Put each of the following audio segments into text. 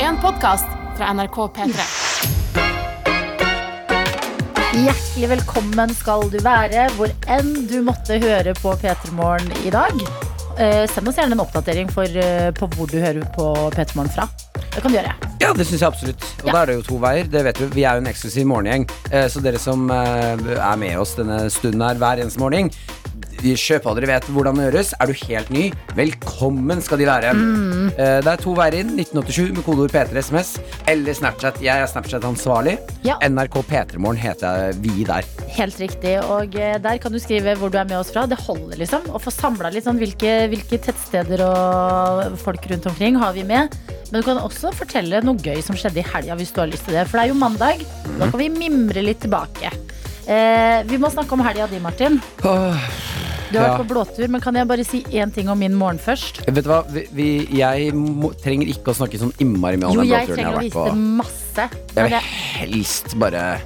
en podkast fra NRK P3. Hjertelig velkommen skal du være, hvor enn du måtte høre på P3 Morgen i dag. Eh, send oss gjerne en oppdatering for, eh, på hvor du hører på P3 Morgen fra. Det kan du gjøre. Ja, det syns jeg absolutt. Og Ja. da er det jo to veier. Det vet du. Vi er jo en eksklusiv morgengjeng. Eh, Så dere som eh, er med oss denne stunden her hver eneste morgen Kjøp hva dere vet hvordan det gjøres. Er du helt ny, velkommen skal de være. Mm. Eh, Det er to veier inn. 1987 med kodeord P3 SMS eller Snapchat. Jeg er Snapchat-ansvarlig. Ja. NRK P3morgen heter jeg- eh, vi der. Helt riktig. Og eh, der kan du skrive hvor du er med oss fra. Det holder liksom å få samla litt sånn hvilke, hvilke tettsteder og folk rundt omkring har vi med. Men du kan også fortelle noe gøy som skjedde i helga, hvis du har lyst til det. For det er jo mandag. Da kan vi mimre litt tilbake. Eh, vi må snakke om helga di, Martin. Åh, Du har Ja. vært på blåtur, men kan jeg bare si én ting om min morgen først? vet du hva? Vi, vi, jeg må, trenger ikke å snakke sånn innmari mye om Jo, den jeg blåturen jeg trenger har å vært vise på. det masse. Jeg Men vil det, helst bare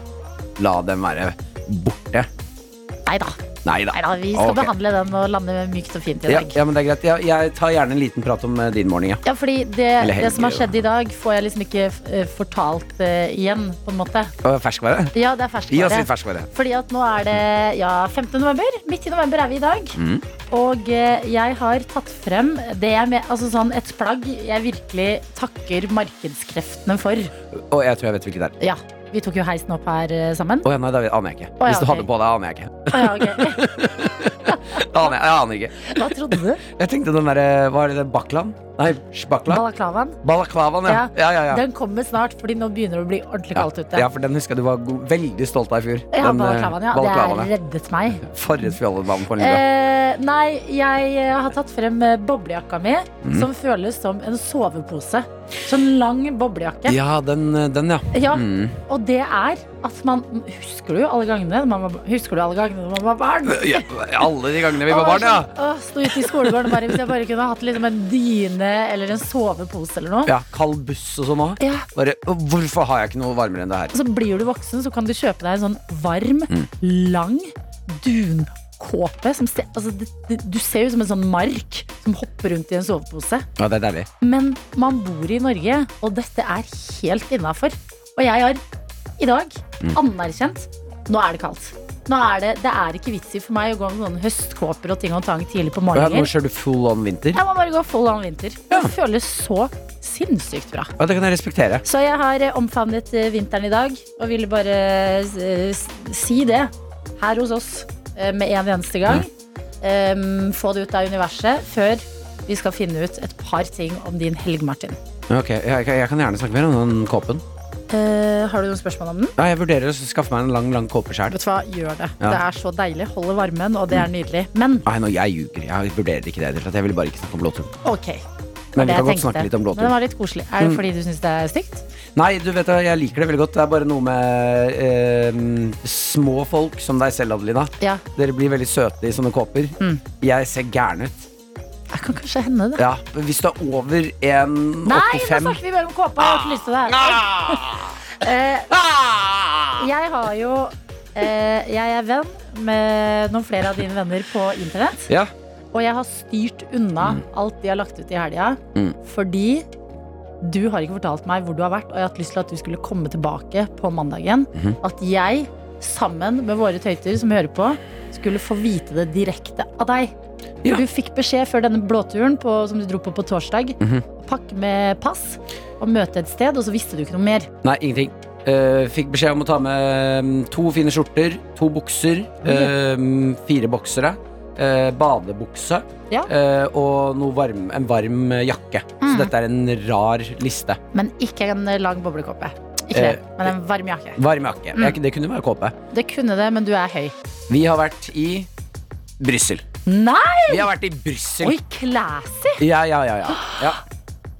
la dem være borte. nei da. Nei da. Nei da, vi skal Ah, Ok. behandle den og lande mykt og fint i Ja, dag. ja, men det er greit. Jeg, jeg tar gjerne en liten prat om eh, din morgen. Ja. Ja, fordi det, Eller det som har helger, skjedd i dag, får jeg liksom ikke eh, fortalt eh, igjen, på en måte. Og Ferskvare? Ja, det er Gi oss ferskvare. litt ferskvare. Fordi at nå er det ja, 15. november. Midt i november er vi i dag. Mm. Og eh, jeg har tatt frem det jeg med, altså sånn et plagg jeg virkelig takker markedskreftene for. Å, jeg tror jeg vet hvilket det er. Ja, vi tok jo heisen opp her eh, sammen. Å ja, nei, det aner jeg ikke. Å ja, Hvis du ok. hadde på deg, aner jeg ikke. Å ja, ok. Det Aner jeg, jeg aner ikke. Hva trodde du? Jeg tenkte den derre Hva er det? Baklan? Nei, sbakla? Balaklavaen? Balaklavaen, ja. Ja, ja, ja. Den kommer snart, fordi nå begynner det å bli ordentlig kaldt ute. Ja, for den husker jeg du var go- veldig stolt av i fjor. Ja, Den, eh, balaklavaen, ja. balaklavaen, Det reddet meg. ja. For et fjollebanen på en lille. Eh, nei, jeg eh, har tatt frem eh, boblejakka mi, Mhm. som føles som en sovepose. Sånn lang boblejakke. Ja, den, eh, den, ja. Ja, Mm. og det er at man Husker du alle gangene man var, husker du alle gangene man var barn? Eh, ja. Alle de gangene vi var Og barn, ja. sånn, Åh, sto ute i skolegården og bare hvis jeg bare kunne hatt liksom en dyne eller en sovepose eller noe. Ja, Kald buss og sånn òg. Ja. Bare «Å, Hvorfor har jeg ikke noe varmere enn det her? Og så blir du voksen, så kan du kjøpe deg en sånn varm, Mm. lang dunkåpe. Som ser, altså, det, det, du ser ut som en sånn mark som hopper rundt i en sovepose. Ja, det er deilig. Men man bor i Norge, og dette er helt innafor. Og jeg har i dag Mm. anerkjent Nå er det kaldt. Nå er det, det er ikke vits i for meg å gå med sånne høstkåper og ting og tang tidlig på Å Ja, nå morgenen. kjører du full on Jeg vinter? må bare gå full on vinter. Det føles så sinnssykt bra. Ja, det kan jeg respektere. Så jeg har eh, omfavnet eh, vinteren i dag og ville bare eh, s- si det her hos oss eh, med en eneste gang. Em, få det ut av universet før vi skal finne ut et par ting om din helg, Martin. Ok, jeg, jeg kan gjerne snakke mer om den kåpen. Eh, har du noen spørsmål om den? Ja, jeg vurderer å skaffe meg en lang lang kåpe sjøl. Vet du hva, gjør det. Ja. Mm. Det er så deilig. Holder varmen, og det er nydelig. Men Nei, nå, jeg ljuger. Jeg vurderer ikke det. i det hele tatt. Jeg ville bare ikke snakke om blåturen. ok. Det Men vi jeg kan godt tenkte. snakke litt om Mm. Men det blåturen. var litt koselig. Er det fordi du syns det er stygt? Nei, du vet hva, jeg liker det veldig godt. Det er bare noe med eh, små folk som deg selv, Adelina. Ja. Mm. Dere blir veldig søte i sånne kåper. Jeg ser gæren ut. Det kan kanskje hende, det. Ja, men hvis du er over Nei, nå 1,85 snakker vi bare om kåpa. Jeg har ikke lyst til det. Eh, Ah! jeg har jo eh, Jeg er venn med noen flere av dine venner på internett. Ja. Og jeg har styrt unna alt de har lagt ut i helga, Mm. fordi du har ikke fortalt meg hvor du har vært, og jeg har hatt lyst til at du skulle komme tilbake på mandagen. Mhm. At jeg, sammen med våre tøyter som hører på, skulle få vite det direkte av deg. Ja. Du fikk beskjed før denne blåturen på, som du dro på på torsdag. Mhm. Pakke med pass og møte et sted, og så visste du ikke noe mer. Nei, ingenting. Eh, fikk beskjed om å ta med mm, to fine skjorter, to bukser, eh, fire boksere, eh, badebukse Ja. eh, og noe varm, en varm eh, jakke. Så Mm. dette er en rar liste. Men ikke en lang boblekåpe. Ikke det, Eh, men en varm jakke. Varm jakke. Mm. Jeg- Det kunne være kåpe. Det kunne det, men du er høy. Vi har vært i Brussel. Nei! Vi har vært i Brussel! Oi, classy! Ja, ja, ja, ja. ja.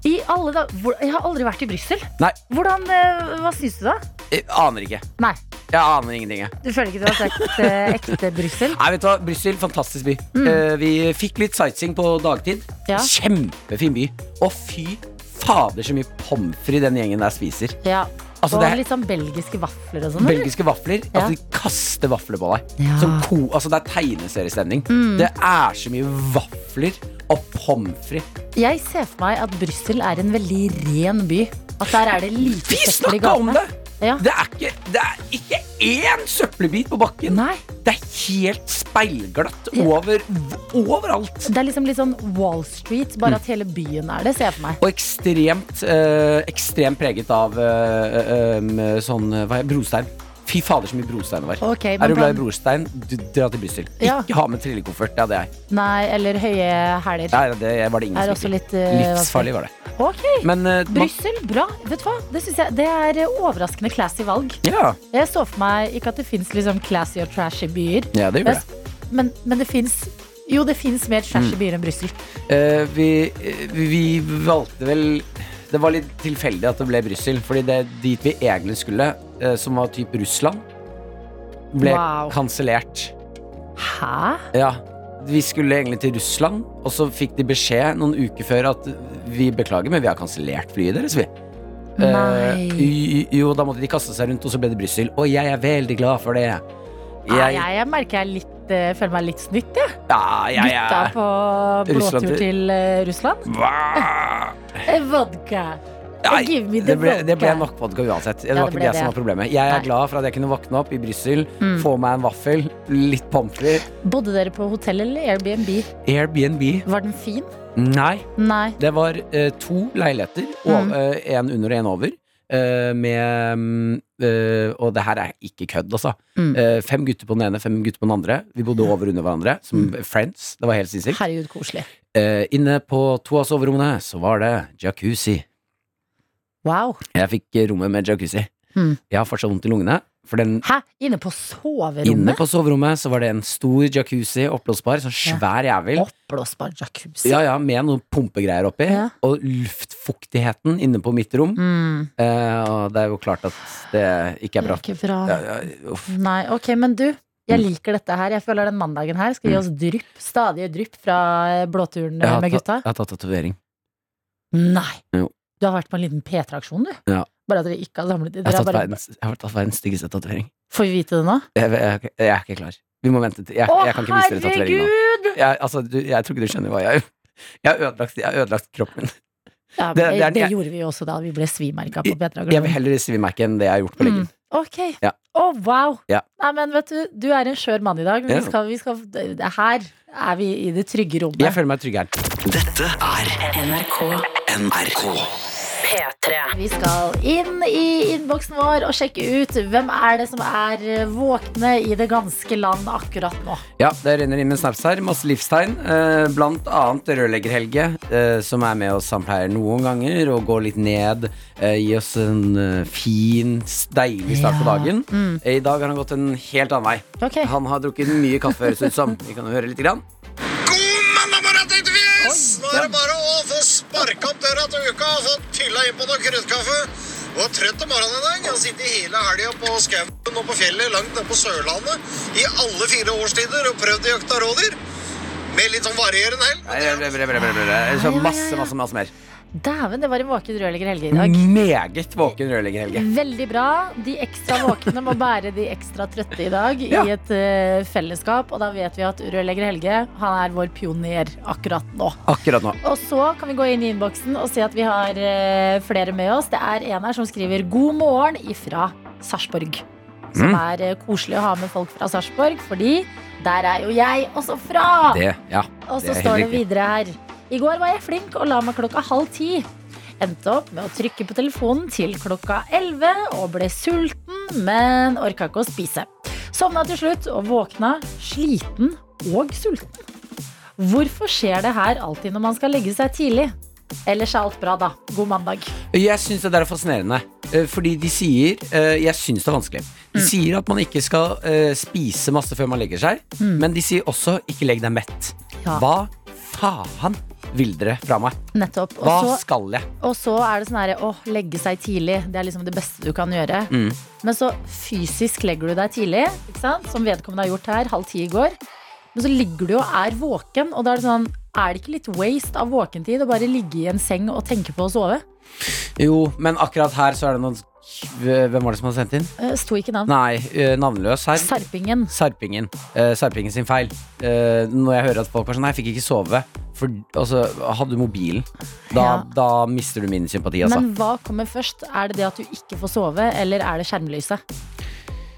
I alle da, hvor, jeg har aldri vært i Brussel. Nei. Hvordan, eh, Hva syns du, da? Jeg aner ikke. Nei, Jeg aner ingenting, jeg. Du føler ikke du har sagt eh, ekte Brussel? Nei, vet du hva, Brussel, fantastisk by. Eh, vi fikk litt sightseeing på dagtid. Mm. Ja. Kjempefin by. Og fy fader, så mye pommes frites den gjengen der spiser. Ja. Altså, og det er litt sånn belgiske vafler og sånn? eller? Belgiske vafler. Ja. Altså, de kaster vafler på deg. Ja. Mm. Som ko, altså, det er tegneseriestemning. Det er så mye vafler og pommes frites. Jeg ser for meg at Brussel er en veldig ren by. At der er det lite Vi søppel i snakka om gatene. det! Ja. Det er ikke, det er ikke én søppelbit på bakken. Nei. Det er helt speilglatt Ja. over, overalt. Det er liksom litt sånn Wall Street, bare Mm. at hele byen er det, ser jeg for meg. Og ekstremt, eh, ekstremt preget av eh, eh, eh, sånn eh, hva er, brostein. Fy fader, så mye brostein det var. Ok, men er du glad i bland- brostein, du, dra til Brussel. Ja. Ikke ha med trillekoffert. Ja, det er jeg. Nei, eller høye hæler. Nei, det var det ingen Er som også gikk. litt, eh, Livsfarlig var det. Ok, Men eh, man- Brussel, bra. Vet du hva? Det synes jeg det er eh, overraskende classy valg. ja. Jeg så for meg ikke at det fins liksom classy og trashy byer, ja, det gjorde men, jeg. men, men det fins jo, det fins mer Mm. trashy byer enn Brussel. Eh, vi, eh, vi valgte vel Det var litt tilfeldig at det ble Brussel. Fordi det dit vi egentlig skulle, eh, som var typ Russland, ble Wow. kansellert. Hæ? Ja. Vi skulle egentlig til Russland, og så fikk de beskjed noen uker før at vi beklager, men vi har kansellert flyet deres, vi. Nei. Eh, jo, da måtte de kaste seg rundt, og så ble det Brussel. Og jeg er veldig glad for det. Nei, Jeg, jeg merker jeg er litt, eh, føler meg litt snytt, jeg. ja, jeg Gutta er- på Russland blåtur til- til eh, Russland. Hva? Eh, Vodka. Eh, Nei, Give me the det ble, det ble vodka. nok vodka uansett. Det Ja, var det ikke ble det, som det. var problemet. Jeg er Nei. glad for at jeg kunne våkne opp i Brussel, Mm. få meg en vaffel, litt pommes frites. Bodde dere på hotell eller Airbnb? Airbnb. Var den fin? Nei, Nei. det var eh, to leiligheter, og, Mm. eh, en under og en over. eh, med mm, eh, Og det her er ikke kødd, altså. Mm. Eh, fem gutter på den ene, fem gutter på den andre. Vi bodde over under hverandre, som Mm. friends. Det var helt sinnssykt. Herregud, koselig. Eh, inne på to av soverommene så var det jacuzzi. Wow. Jeg fikk eh, rommet med jacuzzi. Mm. Jeg har fortsatt vondt i lungene, for den Hæ? Inne på Inne soverommet? på soverommet så var det en stor jacuzzi, oppblåsbar, sånn svær jævel. Oppblåsbar jacuzzi. Ja, ja, Med noen pumpegreier oppi. Ja. Og luftfuktigheten inne på mitt rom. Mm, Eh, og det er jo klart at det det ikke er er bra. ikke bra. Ja, Mm. ja, uff. Nei, ok, men du. Jeg liker dette her. Jeg føler den mandagen her skal gi oss drypp. Stadige drypp fra eh, blåturen Mm. Jeg eh, har med ta- gutta. jeg har tatt tatovering. Nei! Jo. Du har vært på en liten P3-aksjon, du. Ja. Bare at dere ikke har samlet Jeg dere. har har tatt Bare... verdens, jeg har tatt verdens styggeste tatovering. Får vi vite det nå? Jeg, jeg, jeg er ikke klar. Vi må vente til Jeg, Å, jeg kan ikke vise dere tatoveringen nå. herregud! Jeg, altså, du, jeg tror ikke du skjønner hva jeg gjør. Jeg har ødelagt, jeg har ødelagt kroppen min. Ja, Det- det, det er den- det jeg- gjorde vi jo også da vi ble svimerka på Jeg vil P3-aksjonen. heller svimerke enn det jeg har gjort på leggen. Ok. Å, Ja. wow! Ja. Nei, men vet du, du er en skjør mann i dag, men Ja. vi skal, vi skal, det- her er vi i det trygge rommet. Jeg føler meg trygg her. Dette er NRK. Vi skal inn i innboksen vår og sjekke ut hvem er det som er eh, våkne i det ganske land akkurat nå. Ja, det renner inn med snaps her. Masse livstegn. Eh, blant annet rørlegger Helge, eh, som er med oss sampleier noen ganger og går litt ned. Eh, gi oss en eh, fin, s- deilig start på Ja. Mm. dagen. Eh, I dag har han gått en helt annen vei. Ok, Han har drukket mye kaffe, høres ut som. Vi kan jo høre lite grann. God mandag morgen, tenkefjes! Nå er det bare å få sparka opp døra til uka og få tylla inn på noe krydderkaffe. Var trøtt om morgenen i dag. Jeg har sittet hele helga på skauen og på fjellet langt nede på Sørlandet i alle fire årstider og prøvd å jakte rådyr. Med litt sånn varierende hell. Nei, bre- bre- bre- bre- bre- bre. Så Masse, masse, masse mer. Dæven, det var en våken rørlegger Helge i dag. Meget våken rørlegger Helge. Veldig bra. De ekstra våkne må bære de ekstra trøtte i dag Ja. i et eh, fellesskap. Og da vet vi at rørlegger Helge han er vår pioner akkurat nå. Akkurat nå. Og så kan vi gå inn i innboksen og se at vi har eh, flere med oss. Det er en her som skriver 'God morgen' ifra Sarpsborg. Som Mm. er eh, koselig å ha med folk fra Sarpsborg, fordi der er jo jeg også fra! Det, ja. og så det er helt står det riktig. videre her. I går var jeg flink og la meg klokka halv ti. Endte opp med å trykke på telefonen til klokka elleve og ble sulten, men orka ikke å spise. Sovna til slutt og våkna sliten og sulten. Hvorfor skjer det her alltid når man skal legge seg tidlig? Ellers er alt bra, da. God mandag. Jeg syns det der er fascinerende. eh, Fordi de sier eh, Jeg syns det er vanskelig. De Mm. sier at man ikke skal eh, spise masse før man legger seg, men de sier også 'ikke legg deg mett'. Mm. Ja. Hva faen vil dere fra meg? Nettopp. Og Hva så, skal jeg? og så er det sånn herre å legge seg tidlig. Det er liksom det beste du kan gjøre. Mm. Men så fysisk legger du deg tidlig, ikke sant? som vedkommende har gjort her, halv ti i går. Men så ligger du og er våken, og da er det sånn Er det ikke litt waste av våkentid å bare ligge i en seng og tenke på å sove? Jo, men akkurat her så er det noen Hvem var det som hadde sendt inn? Eh, Sto ikke navn. Nei, eh, navnløs her. Sarpingen. Sarpingen. Eh, Sarpingen sin feil. Eh, når jeg hører at folk var sånn Nei, jeg fikk ikke sove. For altså, hadde du mobilen, da, Ja. da mister du min sympati, altså. Men hva kommer først? Er det det at du ikke får sove, eller er det skjermlyset?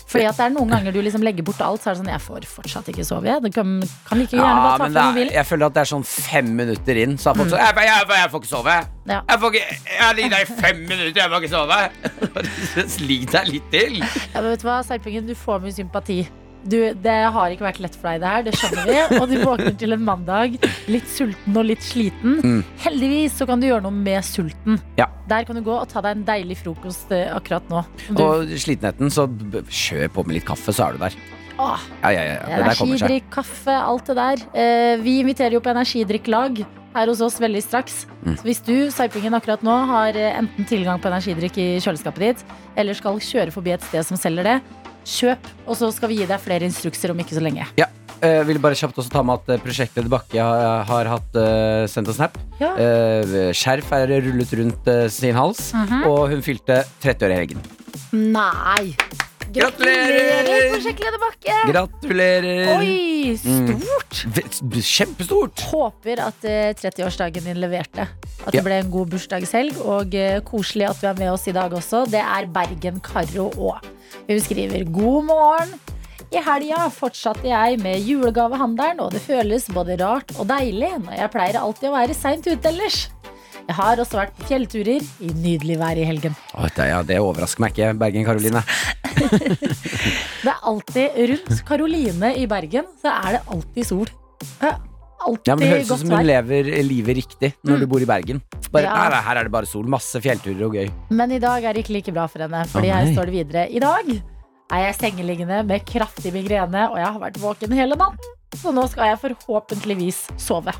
Fordi at det er noen ganger du liksom legger bort alt, så er det sånn Jeg får fortsatt ikke sove, jeg. Du kan, kan like gjerne bare ta men fra det er, mobilen. jeg føler at det er sånn fem minutter inn, så har folk sånn Mm. jeg, jeg, jeg, jeg får ikke sove. Ja. Jeg, får ikke, jeg har ligget der i fem minutter, jeg får ikke sove. Ligg deg litt til. Ja, men vet du hva, Serpingen, du får mye sympati. Du, det har ikke vært lett for deg, det her. Det skjønner vi. Og du våkner til en mandag litt sulten og litt sliten. Heldigvis så kan du gjøre noe med sulten. Mm. Ja. Der kan du gå og ta deg en deilig frokost eh, akkurat nå. Om Du, Og slitenheten, så b- kjør på med litt kaffe, så er du der. Åh, Ja, ja, ja. Det der kommer seg. energidrikk, kaffe, alt det der. Eh, vi inviterer jo på energidrikklag her hos oss veldig straks. Mm. Så hvis du, Sarpingen, akkurat nå har eh, enten tilgang på energidrikk i kjøleskapet ditt, eller skal kjøre forbi et sted som selger det, kjøp, og så skal vi gi deg flere instrukser om ikke så lenge. Ja. eh, ville bare kjapt også ta med at eh, prosjektet Bakke har, har hatt eh, sendt en snap. Ja. Eh, skjerf er rullet rundt eh, sin hals, Mhm. og hun fylte 30 år i helgen. Nei! Gratulerer, prosjektleder Bakke! Gratulerer! Oi, stort! V- Kjempestort! Håper at eh, 30-årsdagen din leverte. At Ja. det ble en god bursdagshelg. Og eh, koselig at du er med oss i dag også. Det er Bergen Karo òg. Hun skriver god morgen. I helga fortsatte jeg med julegavehandelen, og det føles både rart og deilig når jeg pleier alltid å være seint ute ellers. Jeg har også vært på fjellturer i nydelig vær i helgen. Å, det, ja, det overrasker meg ikke, Bergen Karoline. Det er alltid rundt Karoline i Bergen, så er det alltid sol. Det er Alltid Ja, men det høres ut godt som hun vær. lever livet riktig når du bor i Bergen. Bare, Ja. nei, nei, her er det bare sol, masse fjellturer og gøy. Men i dag er det ikke like bra for henne, Fordi Å, her nei. står det videre. I dag er jeg sengeliggende med kraftig migrene, og jeg har vært våken hele natten. Så nå skal jeg forhåpentligvis sove.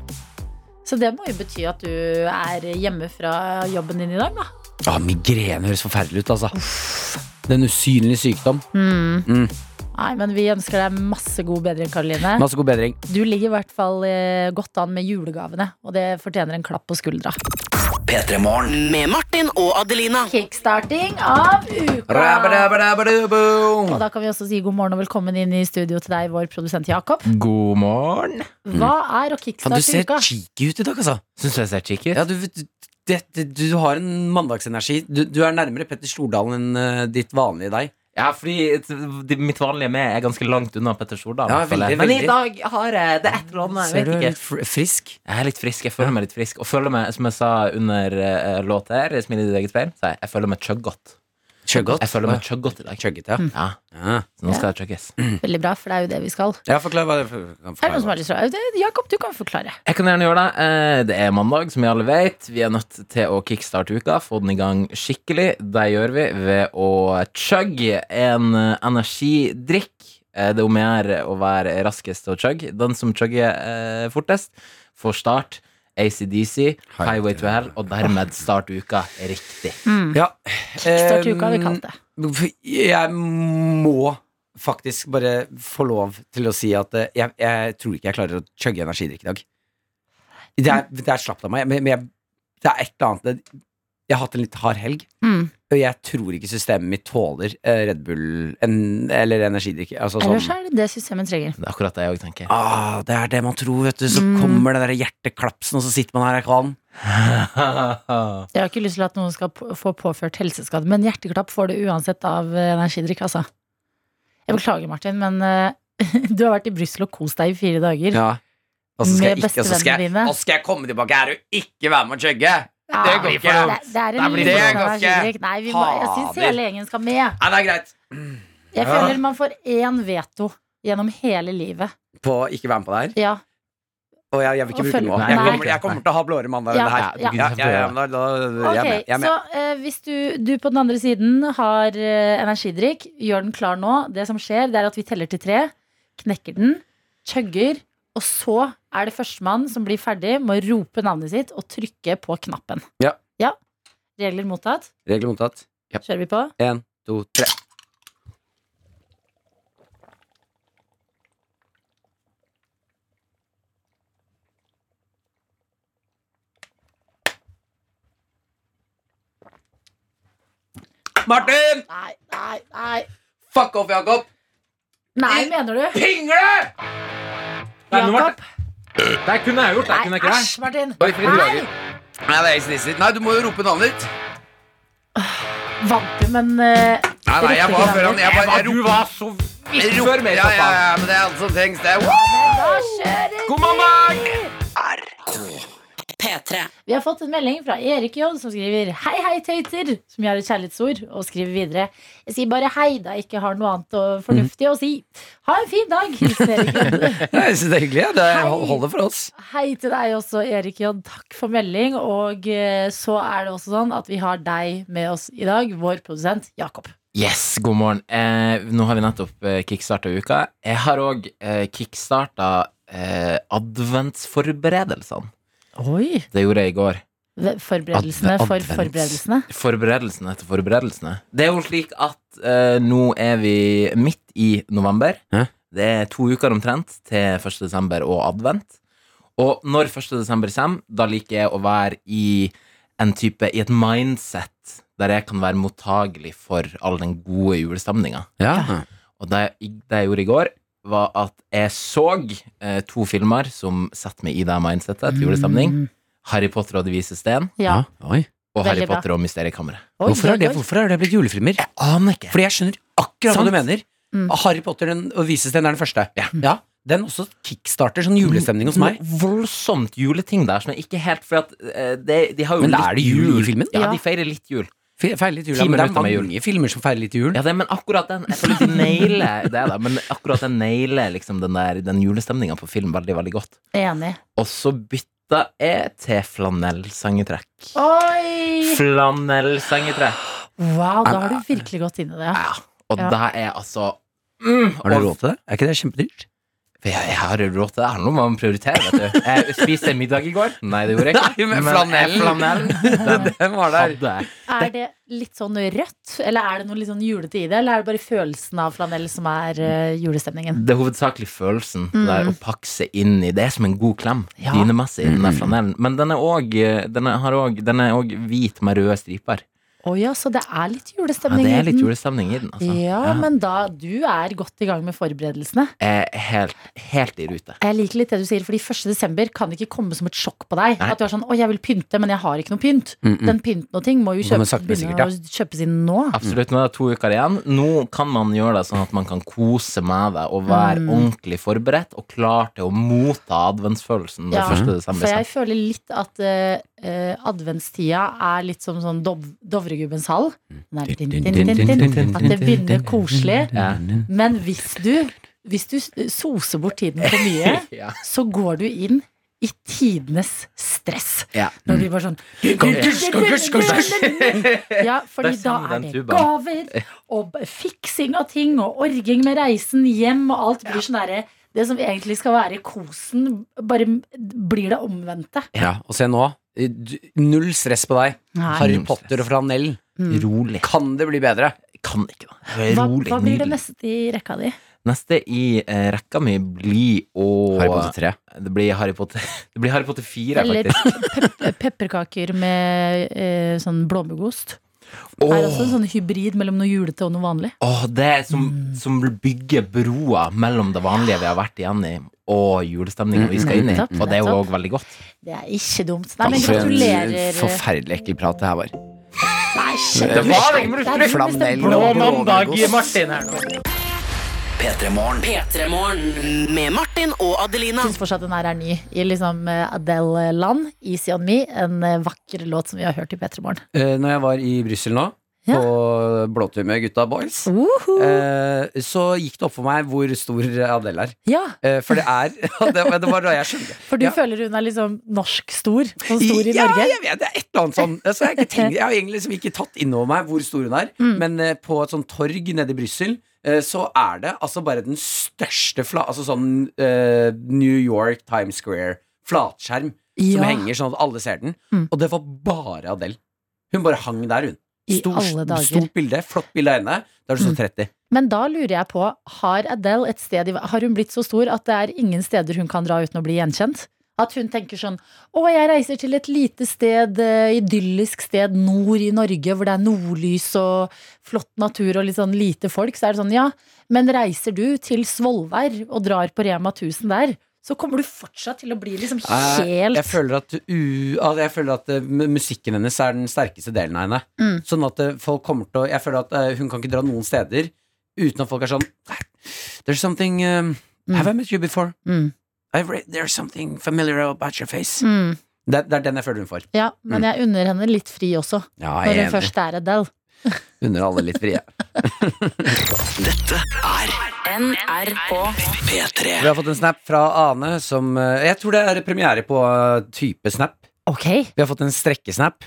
Så det må jo bety at du er hjemme fra jobben din i dag, da. Ja, Migrene høres forferdelig ut, altså. Det er en usynlig sykdom. Nei, men vi ønsker deg masse god bedring, Karoline. Masse god bedring. Du ligger i hvert fall eh, godt an med julegavene, og det fortjener en klapp på skuldra. P3 Morgen. Med Martin og Adelina. Kickstarting av uka! Og Rabba-dabba-dabba-dabbo. da kan vi også si god morgen og velkommen inn i studio til deg, vår produsent Jakob. God morgen. Hva er å Faen, Du kickstarte ser uka? cheeky ut i dag, altså. Syns du jeg ser chic ut? Ja, du, du, det, det, du har en mandagsenergi. Du, du er nærmere Petter Stordalen enn eh, ditt vanlige deg. Ja, fordi t- de- mitt vanlige meg er ganske langt unna Petter Stordalen. Ja, føler veldig, jeg. Men veldig. i dag har jeg det er et eller annet. Jeg Ser du vet litt ikke. fr- frisk? Jeg er litt frisk. Jeg føler meg litt frisk. Og føler meg, som jeg sa under uh, låt her, Smil i ditt eget speil, sa jeg jeg føler meg chuggott. Chuggot? Jeg føler meg chuggott i dag. Chugget, ja. Ja, ja. så nå skal jeg chugges. Veldig bra, for det er jo det vi skal. Ja, forklar hva det kan Er det noen som forklare. har lyst til å Det- Jakob, du kan forklare. Jeg kan gjerne gjøre det. Eh, Det er mandag, som vi alle vet. Vi er nødt til å kickstarte uka, få den i gang skikkelig. Det gjør vi ved å chugge en eh, energidrikk. Eh, Det er om å gjøre å være raskest til å chugge. Den som chugger eh, fortest, får start. ACDC, Highway to Hell, og dermed start uka riktig. Mm. Ja. Kickstart uka har vi kalt det. Ehm, Jeg må faktisk bare få lov til å si at eh, jeg, jeg tror ikke jeg klarer å chugge energidrikk i dag. Det er, det er slapt av meg, men, men jeg, det er et eller annet Jeg har hatt en litt hard helg, Mm. og jeg tror ikke systemet mitt tåler eh, Red Bull en, eller energidrikk. Altså, sånn- Ellers er det det systemet trenger. Det er akkurat det jeg òg tenker. ah, det er det man tror, vet du. Så Mm. kommer det der hjerteklapsen, og så sitter man her i kvalen. Jeg har ikke lyst til at noen skal på- få påført helseskade, men hjerteklapp får du uansett av eh, energidrikk, altså. Jeg beklager, Martin, men eh, du har vært i Brussel og kost deg i fire dager. Ja. Og så skal, Med jeg ikke, og så skal, jeg, bestevennene dine. og så skal jeg komme tilbake her og ikke være med og chugge! Ja, det går ikke. Det, det er Da en blir liten det ganske- energidrikk. Nei, vi må, jeg syns Fader. hele gjengen skal med. Nei, det er greit. Jeg Ja. føler man får én veto gjennom hele livet. På å ikke være med på det her? Ja. Og jeg, jeg vil ikke Og bruke den følg- nå. Nei, Jeg nei. kommer, jeg kommer til å ha blåre mandager. Ja, enn det her. ja. Ja, ja, ja, men da, da, jeg er Ok, med. Jeg er med. Så eh, hvis du, du på den andre siden har eh, energidrikk, gjør den klar nå. Det som skjer, det er at vi teller til tre, knekker den, chugger, og så er det førstemann som blir ferdig med å rope navnet sitt og trykke på knappen. Ja. Regler mottatt. Regler mottatt. Kjører vi på? Én, to, tre. Martin! Nei, nei, nei. Fuck off, Jakob! Nei, mener du? Pingle! Nei, nå ble- Jakob? Det kunne jeg gjort. Det kunne Nei, jeg ikke æsj, Martin. Oi, for en Nei. drage. Nei, det er helt snissigt. Nei, du må jo rope navnet ditt. Vant du, men eh, Nei, nei, jeg var før han. Jeg, bare, jeg Du roper. var så Jeg vidt roper. før Ja, meg, ja, pappa. ja, men det er alt som trengs. Det er da kjører God mandag! P3. Vi har fått en melding fra Erik J som skriver Hei hei tøyter, som gjør et kjærlighetsord Og skriver videre Jeg sier bare hei da jeg ikke har noe annet og fornuftig å si Ha en fin dag, hilsen Erik J Jeg synes det er hyggelig. ja. Det Hei. holder for oss. Hei til deg også Erik J, takk for melding Og eh, så er det også sånn at vi har deg med oss i dag Vår produsent Jakob Yes, god morgen. Eh, nå har vi nettopp eh, kickstarta uka. Jeg har òg eh, kickstarta eh, adventsforberedelsene. Oi, Det gjorde jeg i går. forberedelsene Adve- for advents. forberedelsene Forberedelsene etter forberedelsene. Det er jo slik at eh, nå er vi midt i november. Hæ? Det er to uker omtrent til 1. desember og advent. Og når 1. desember kommer, da liker jeg å være i en type I et mindset der jeg kan være mottagelig for all den gode julestemninga. Ja. Og det, det jeg gjorde i går, var at jeg så eh, to filmer som setter meg i det mindsetet til julestemning. Mm. Harry Potter og Det vise sten, Ja, Oi. og Harry Veldig bra. Potter og Mysteriekammeret. Oi, Hvorfor oi, er, det, oi. hvorfor er det blitt julefilmer? Aner ikke. Fordi jeg skjønner akkurat Sant. hva du mener. Mm. Harry Potter den, og Visestein er den første. Ja. Den også kickstarter sånn julestemning hos meg. Noe voldsomt juleting der som jeg ikke helt For at, eh, det, de har jo Men litt er det jul i filmen? Ja, Ja. de feirer litt jul. Fe- Feirer litt jul, Ti ja, men det er minutter med mange jul. filmer som feirer litt jul. Ja, det, men akkurat den Jeg føler de nailer det, da. Men akkurat den nailer liksom den, der- den julestemninga på film veldig, veldig godt. Enig Og så bytta jeg til flanellsangetrekk. Oi, Flanellsangetrekk. wow, da har du virkelig gått inn i det Ja, og Ja. det er altså mm, Har du og- råd til det? Er ikke det kjempedyrt? Jeg, jeg har råd til det. Det handler om hva man prioriterer. Vet du. Jeg spiste middag i går. Nei, det gjorde jeg Nei, ikke. men eh, flanellen den Den var hadde jeg. Er det litt sånn rødt, eller er det noe litt sånn julete i det? Eller er det bare følelsen av flanell som er eh, julestemningen? Det er hovedsakelig følelsen der å pakke seg inn i. Det er som en god klem. Mm. Ja. Dynemessig, den Mm. der flanellen. Men den er òg den er- har også- den er òg hvit med røde striper. Å ja, så det er litt Ja, julestemning det er litt i den. julestemning i den, altså. Ja, men da du er godt i gang med forberedelsene. Jeg er helt, helt i rute. Jeg liker litt det du sier, fordi 1. desember kan ikke komme som et sjokk på deg. Nei. At du er sånn 'Å, jeg vil pynte, men jeg har ikke noe pynt'. Den pynten og ting må jo Kommer kjøpes, sakte, men sikkert, begynne å kjøpes inn nå. Absolutt. Nå er det to uker igjen. Nå kan man gjøre det sånn at man kan kose med det og være Mm. ordentlig forberedt og klar til å motta adventsfølelsen når Ja, 1. For desember jeg kommer. føler litt at eh, eh, adventstida er litt som sånn Dov Dovregubbens hall. Den er Mm. din, din, din, din, din. At det begynner koselig. Ja. Men hvis du, hvis du soser bort tiden for mye, Sånn. Ja. så går du inn i tidenes stress. Ja. Når du bare sånn Ja, fordi Der da sang er den det tubaen. gaver og b- fiksing av ting og orging med reisen hjem og alt blir sånn derre Det som egentlig skal være kosen, bare m- blir det omvendte. Ja, og se nå. Du- Null stress på deg. Harry Null Potter stress. og flanell. Rolig. Kan det bli bedre? Kan ikke det. Hva, Rolig. hva blir det nydelig. neste i rekka di? Neste i eh, rekka mi blir å Harry Potter 3. Det blir Harry Potter, det blir Harry Potter 4, Eller faktisk. pep eh, pepperkaker med eh, sånn blåmuggost. Åh, Er også en sånn Mm. hybrid mellom noe julete og noe vanlig. åh, det er som, som bygger broa mellom det vanlige vi har vært igjen i, og julestemningen vi skal inn i. Nettopp, Og det er jo nettopp. òg veldig godt. Det er ikke dumt. Nei, men For Altså, en gratulerer. eh, Forferdelig ekkel prat det her var. Nei, skjønner Det du? var Nei, det, det er liksom du som Flanell bestemmer. og blåmuggost. Martin her nå. P3 Morgen med Martin og Adelina. Jeg synes fortsatt den her er ny i liksom eh, Adele Land, Easy On Me. En eh, vakker låt som vi har hørt i P3 Morgen. Eh, Når jeg var i Brussel nå, Ja. på blåtur med gutta boys, eh, så gikk det opp for meg hvor stor Adele er. Ja, Eh, For det er det, var- det var da jeg skjønte for du Ja. føler hun er liksom norsk stor. Sånn stor i ja, Norge. jeg vet det. er Et eller annet sånn. Altså, jeg, har ikke tenkt, jeg har egentlig liksom ikke tatt innover meg hvor stor hun er, Mm. men eh, på et sånt torg nede i Brussel eh, så er det altså bare den største fla, Altså sånn eh, New York Times Square flatskjerm Ja. som henger sånn at alle ser den. Mm. Og det var bare Adele. Hun bare hang der, hun. I Stor- alle dager. Mm. Stort bilde, flott bilde av henne. Da er du sånn 30. Men da lurer jeg på, har Adele et sted i Har hun blitt så stor at det er ingen steder hun kan dra uten å bli gjenkjent? At hun tenker sånn Å, jeg reiser til et lite sted, eh, idyllisk sted nord i Norge, hvor det er nordlys og flott natur og litt sånn lite folk. Så er det sånn, ja, men reiser du til Svolvær og drar på Rema 1000 der, så kommer du fortsatt til å bli liksom Eh, helt Jeg føler at, u, altså, jeg føler at eh, mu- musikken hennes er den sterkeste delen av henne. Mm. Sånn at eh, folk kommer til å Jeg føler at eh, hun kan ikke dra noen steder uten at folk er sånn There's something um, Have I met you before? Mm. I've read, there's something familiar about your face. Mm. Det, det er den jeg føler hun får. Ja, men jeg unner henne litt fri også, Ja, når Mm. jeg hun først er Adele. Unner alle litt frie. Dette er NRK. P3. Vi har fått en snap fra Ane som eh, Jeg tror det er premiere på eh, type snap. Ok, Vi har fått en strekkesnap.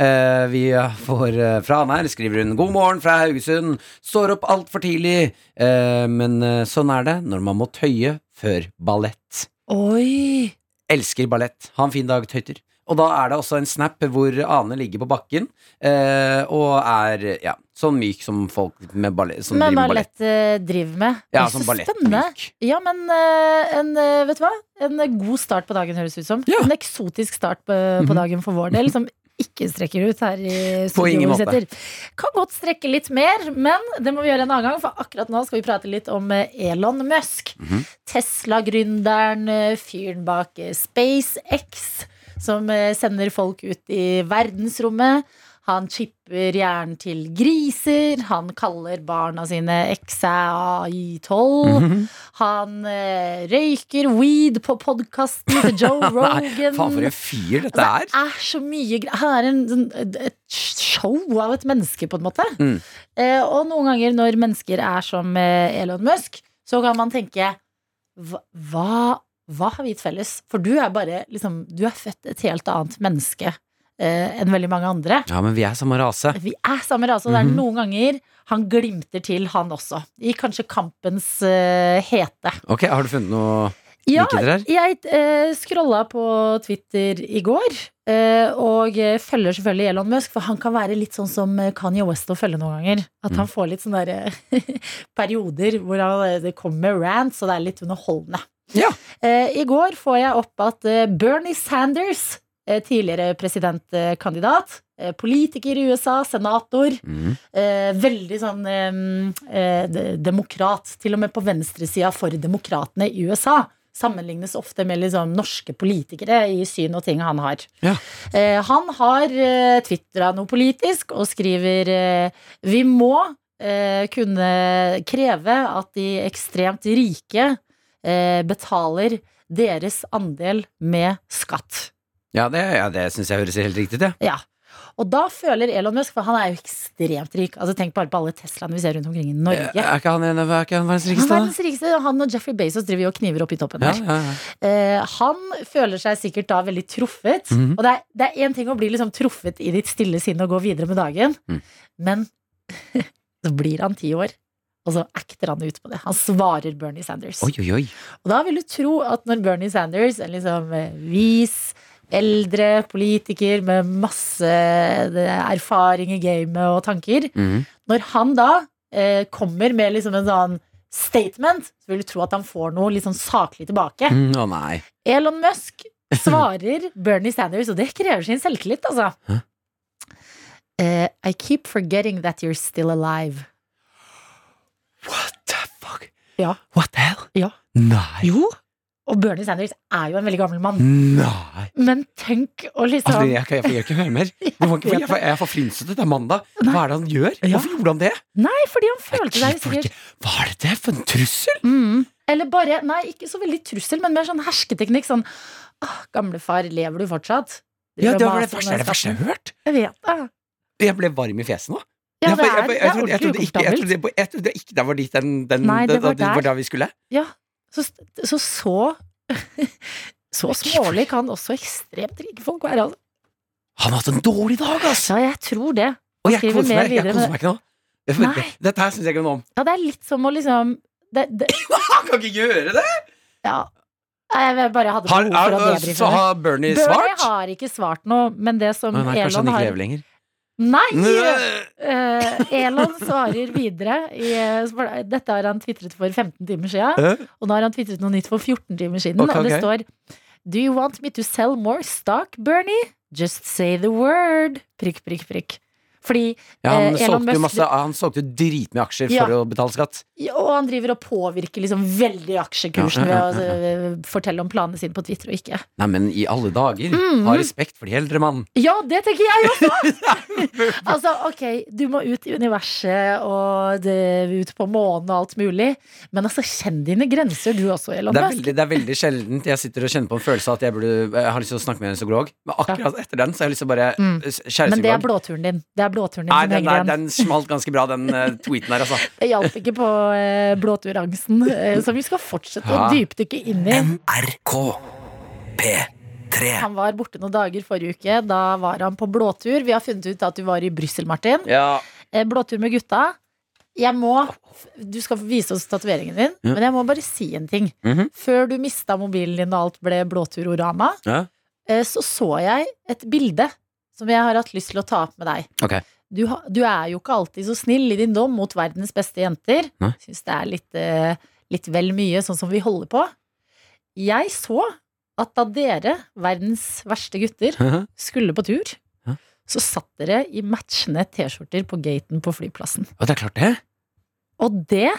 Eh, vi får eh, fra han her, skriver hun 'God morgen fra Haugesund'. Står opp altfor tidlig. Eh, men eh, sånn er det når man må tøye før ballett. oi Elsker ballett. Ha en fin dag, tøyter. Og da er det også en snap hvor Ane ligger på bakken eh, og er ja, sånn myk som folk med ballett, som Men driver hva med ballett. lett eh, driver med Ja, Så sånn spennende. ballettmyk. Ja, men eh, en, eh, vet du hva? En eh, god start på dagen høres ut som Ja. Mhm. En eksotisk start på, på dagen for vår del Som ikke strekker ut her i På ingen måte. studioet Kan godt strekke litt mer Men det må vi gjøre en annen gang For akkurat nå skal vi prate litt om eh, Elon Musk Mhm. Tesla-gründeren eh, Fyren bak eh, SpaceX Som eh, sender folk ut i verdensrommet han chipper hjernen til griser, han kaller barna sine XAI12, Mhm. han eh, røyker weed på podkasten til Joe Rogan. Altså, Nei, faen for en fyr dette er. Det er så mye gre- Han er en, sånn- et show av et menneske, på en måte. Mm. Eh, og noen ganger når mennesker er som eh, Elon Musk, så kan man tenke hva, hva, hva har vi til felles? For du er bare liksom, Du er født et helt annet menneske eh, enn veldig mange andre. Ja, men vi er samme rase. Vi er samme rase, og det er noen ganger han glimter til, han også. I kanskje kampens eh, hete. Ok, Har du funnet noe Ja, likheter her? jeg eh, scrolla på Twitter i går, eh, og eh, følger selvfølgelig Elon Musk, for han kan være litt sånn som eh, Kanye West å følge noen ganger. At han får litt sånne der, eh, perioder hvor han, eh, det kommer rants, og det er litt underholdende. Ja. Eh, I går får jeg opp at eh, Bernie Sanders, eh, tidligere presidentkandidat, eh, politiker i USA, senator, Mm. eh, veldig sånn eh, eh, de- demokrat, til og med på venstresida for demokratene i USA. Sammenlignes ofte med liksom norske politikere i syn og ting han har. Ja. Eh, han har eh, tvitra noe politisk og skriver eh, Vi må eh, kunne kreve at de ekstremt rike eh, betaler deres andel med skatt. Ja, det, ja, det syns jeg høres helt riktig ut, ja. Ja. Og da føler Elon Musk, for han er jo ekstremt rik Altså Tenk bare på alle Teslaene vi ser rundt omkring i Norge. Eh, Er ikke han en av er ikke han verdens Han er rikeste? da? verdens rikeste, og han og Jeffrey Bezos driver jo og kniver opp i toppen Ja, der. ja, ja. Eh, han føler seg sikkert da veldig truffet. Mhm. Og det er- det er én ting å bli liksom truffet i ditt stille sinn og gå videre med dagen, Mm. men så blir han ti år, og så acter han ut på det. Han svarer Bernie Sanders. Oi, oi, oi. Og da vil du tro at når Bernie Sanders, en liksom eh, vis, eldre politiker med masse eh, erfaring i gamet og tanker, Mhm. når han da eh, kommer med liksom en sånn statement, så vil du tro at han får noe litt sånn saklig tilbake. Mm, Å nei. Elon Musk svarer Bernie Sanders, og det krever sin selvtillit, altså. Eh, I keep forgetting that you're still alive. What the fuck? Ja. What the hell? Ja. Nei. Jo, og Bernie Sanders er jo en veldig gammel mann. Nei. Men tenk å liksom Altså, jeg, jeg, får- jeg får ikke høre mer. Jeg, får ikke, jeg, får- jeg er forfrynset. Det er mandag. Hva er det han gjør? Hvorfor gjorde han det? Nei, fordi han Jeg følte seg får sikkert ikke- Hva er det for en trussel? mm. Eller bare, nei, ikke så veldig trussel, men mer sånn hersketeknikk. Sånn «Åh, gamlefar, lever du fortsatt? Ja, Driver det og var det maser om verste, det er det den verste jeg har hørt. skatten. Jeg vet det. Jeg ble varm i fjeset nå. Ja, Jeg- det jeg- er, det er jeg- jeg trodde- jeg ordentlig trodde ikke- Jeg ukomfortabelt. trodde jeg- jeg trodde ikke det var dit den, den, Nei, det den- var at det der. var der vi skulle. Så så, så, så smålig kan også ekstremt rike folk være. Altså. Han har hatt en dårlig dag, altså. ass! Ja, jeg tror det. Og jeg skriver koser mer meg, jeg videre med koser meg ikke nå. Jeg får- Nei. Dette her syns jeg ikke noe om. Ja, det er litt som å liksom det, det, Han kan ikke gjøre det! Ja. Nei, Jeg bare hadde Har, behov for å er, så debrife. det. har Bernie Bernie svart? har ikke svart noe, men det som Å, nei, kanskje Elon han ikke har lever lenger. Nei! Nø! Eh, Elon svarer videre. I, eh, spør- dette har han tvitret for 15 timer siden, Eh? og nå har han tvitret noe nytt for 14 timer siden. Ok, Og det ok. står Do you want me to sell more stock, Bernie? Just say the word. Prikk, prikk, prikk. Fordi Ja, han, Eh, Elon solgte jo Musk- masse, han solgte jo dritmye aksjer Ja. for å betale skatt. Og han driver og påvirker liksom veldig aksjekursen ved å eh, fortelle om planene sine på Twitter og ikke. Nei, men i alle dager! Mm, Ha respekt for de eldre, mann. Ja, det tenker jeg også! altså, ok, du må ut i universet og det, ut på månen og alt mulig. Men altså, kjenn dine grenser du også, Elon Det er, Musk. veldig, det er veldig sjeldent jeg sitter og kjenner på en følelse av at jeg, burde, jeg har lyst til å snakke med en psykolog. Men akkurat etter den så har jeg lyst til å bare eh, Mm. Kjære Men det er psykolog. blåturen din. Det er blåturen din Nei, som den, henger der, igjen. den smalt ganske bra, den eh, tweeten her, altså. Det hjalp ikke på eh, blåturangsten, eh, som vi skal fortsette å Ja. dypdykke inn i. NRK P3 Han var borte noen dager forrige uke. Da var han på blåtur. Vi har funnet ut at du var i Brussel, Martin. Ja. Eh, Blåtur med gutta. Jeg må Du skal få vise oss tatoveringen din, Ja. men jeg må bare si en ting. Mhm. Før du mista mobilen din og alt ble blåturorama, Ja. eh, så så jeg et bilde som jeg har hatt lyst til å ta opp med deg. Ok. Du, ha- du er jo ikke alltid så snill i din dom mot verdens beste jenter. Nei. Syns det er litt, eh, litt vel mye, sånn som vi holder på. Jeg så at da dere, verdens verste gutter, skulle på tur, Hæ? så satt dere i matchende T-skjorter på gaten på flyplassen. Og det er klart, det. Og det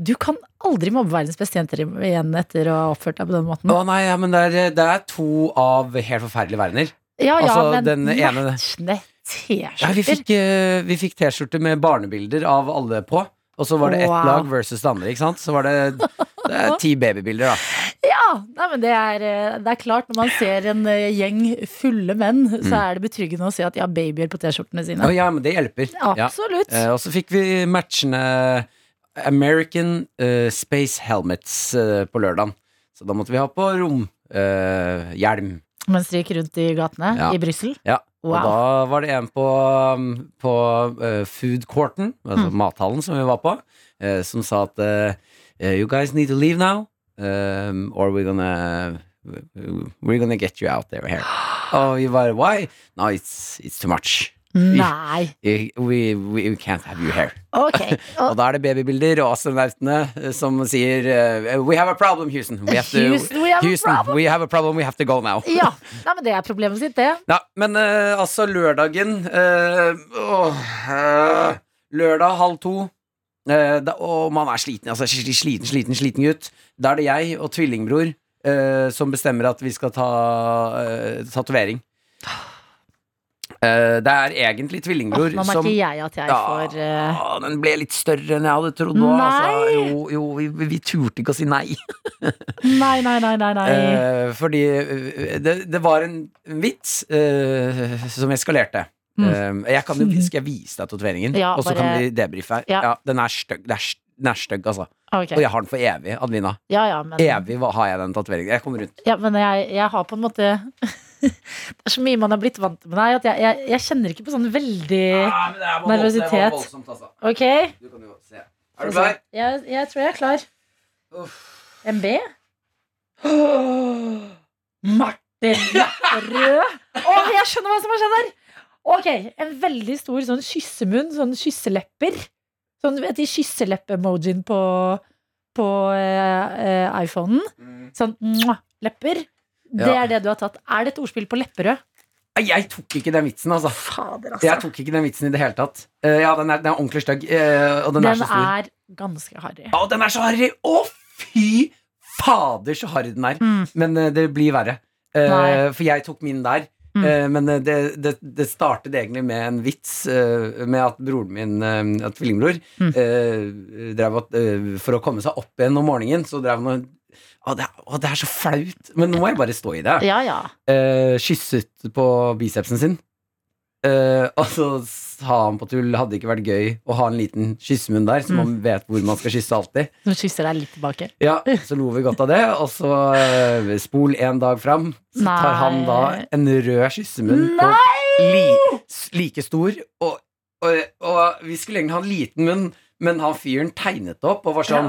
Du kan aldri mobbe verdens beste jenter igjen etter å ha oppført deg på den måten. Å nei, ja, men det er, det er to av helt forferdelige verdener. Ja, ja, altså, men den ene- matchende Ja, vi T-skjorter. fikk, eh, vi fikk T-skjorte med barnebilder av alle på. Og så var det ett Wow. lag versus det andre. ikke sant? Så var det, det er ti babybilder, da. Ja, nei, men det er, eh, det er klart, når man ser en eh, gjeng fulle menn, så Mm. er det betryggende å se at de har babyer på T-skjortene Å sine. ja, men det hjelper. Ja. Absolutt. Eh, og så fikk vi matchende American eh, Space Helmets eh, på lørdagen. Så da måtte vi ha på eh, romhjelm. Mens de gikk rundt i gatene Ja. i Brussel. ja. Og Wow. da var det en på, um, på eh, food courten, Mm. altså mathallen som vi var på, eh, som sa at eh, You guys need to leave now, um, or we're gonna uh, We're gonna get you out there here. Og vi bare Why? No, it's, it's too much. Nei. We, we, we can't have you here. Ok. Og Og, da er det babybilder og astronautene uh, som sier eh, We have a problem, Houston. We have to, Houston, we have a Houston, problem." we have a problem. We have to go now. ja. Nei, men det er problemet sitt, det. Ja, men eh, altså lørdagen eh, åh, eh, Lørdag halv to eh, da, Og man er sliten, altså sli- sliten, sliten, sliten gutt Da er det jeg og tvillingbror eh, Som bestemmer at vi skal ta eh, tatovering Eh, Det er egentlig Åh, tvillingbror nå merker som jeg at jeg får eh, Ja, Den ble litt større enn jeg hadde trodd nå, altså. Nei! Jo, jo vi, vi turte ikke å si nei Nei, nei, nei, nei, nei. Eh, fordi eh, det, det var en vits eh, som eskalerte. Eh, jeg kan jo, skal jeg vise deg tatoveringen, Mm. Ja, og så bare- kan vi debrife her? Ja. Ja. den er stygg, det er st- den er stygg, altså. Ah, Ok. Og jeg har den for evig, Adelina. Ja, ja, men, Evig hva- har jeg den tatoveringen. Jeg kommer rundt. ja, men jeg, jeg har på en måte Det er så mye man har blitt vant med deg, at jeg, jeg, jeg kjenner ikke på sånn veldig Ah, Nervøsitet. det var Ok? altså. Du kan jo se. Få Er du se. klar? Jeg, jeg tror jeg er klar. MB? Martin Rød! Å, jeg skjønner hva som har skjedd her! Ok, en veldig stor sånn kyssemunn, sånn kysselepper. Sånn, du vet de kysseleppe-emojien på, på eh, eh, iPhonen? Sånn mwah, lepper. Det Mm. Ja. er det du har tatt. Er det et ordspill på lepperød? Nei, Jeg tok ikke den vitsen, altså. Fader, Jeg tok ikke den vitsen i det hele tatt. Eh, ja, den er, den er ordentlig stygg, eh, og den, Den er så stor. er ganske harry. Å, den er så harry! Å, fy fader, så harry den er. Mm. Men eh, det blir verre. Eh, Nei. for jeg tok min der. Mm. Eh, men eh, det, det, det startet egentlig med en vits eh, med at broren min, eh, at tvillingbror, Mm. eh, drev at, eh, for å komme seg opp igjen om morgenen, så drev han og å, det, er- å, det er så flaut! Men nå må jeg bare stå i det. Ja, ja. Eh, kysset på bicepsen sin. Eh, og så sa han på tull hadde det ikke vært gøy å ha en liten kyssemunn der, så Mm. man vet hvor man skal kysse alltid. Nå kysser jeg litt tilbake. Ja, så lo vi godt av det, og så eh, spol en dag fram. Så tar han da en rød kyssemunn på li, s- like stor, og, og, og vi skulle egentlig ha en liten munn, men han fyren tegnet opp og var sånn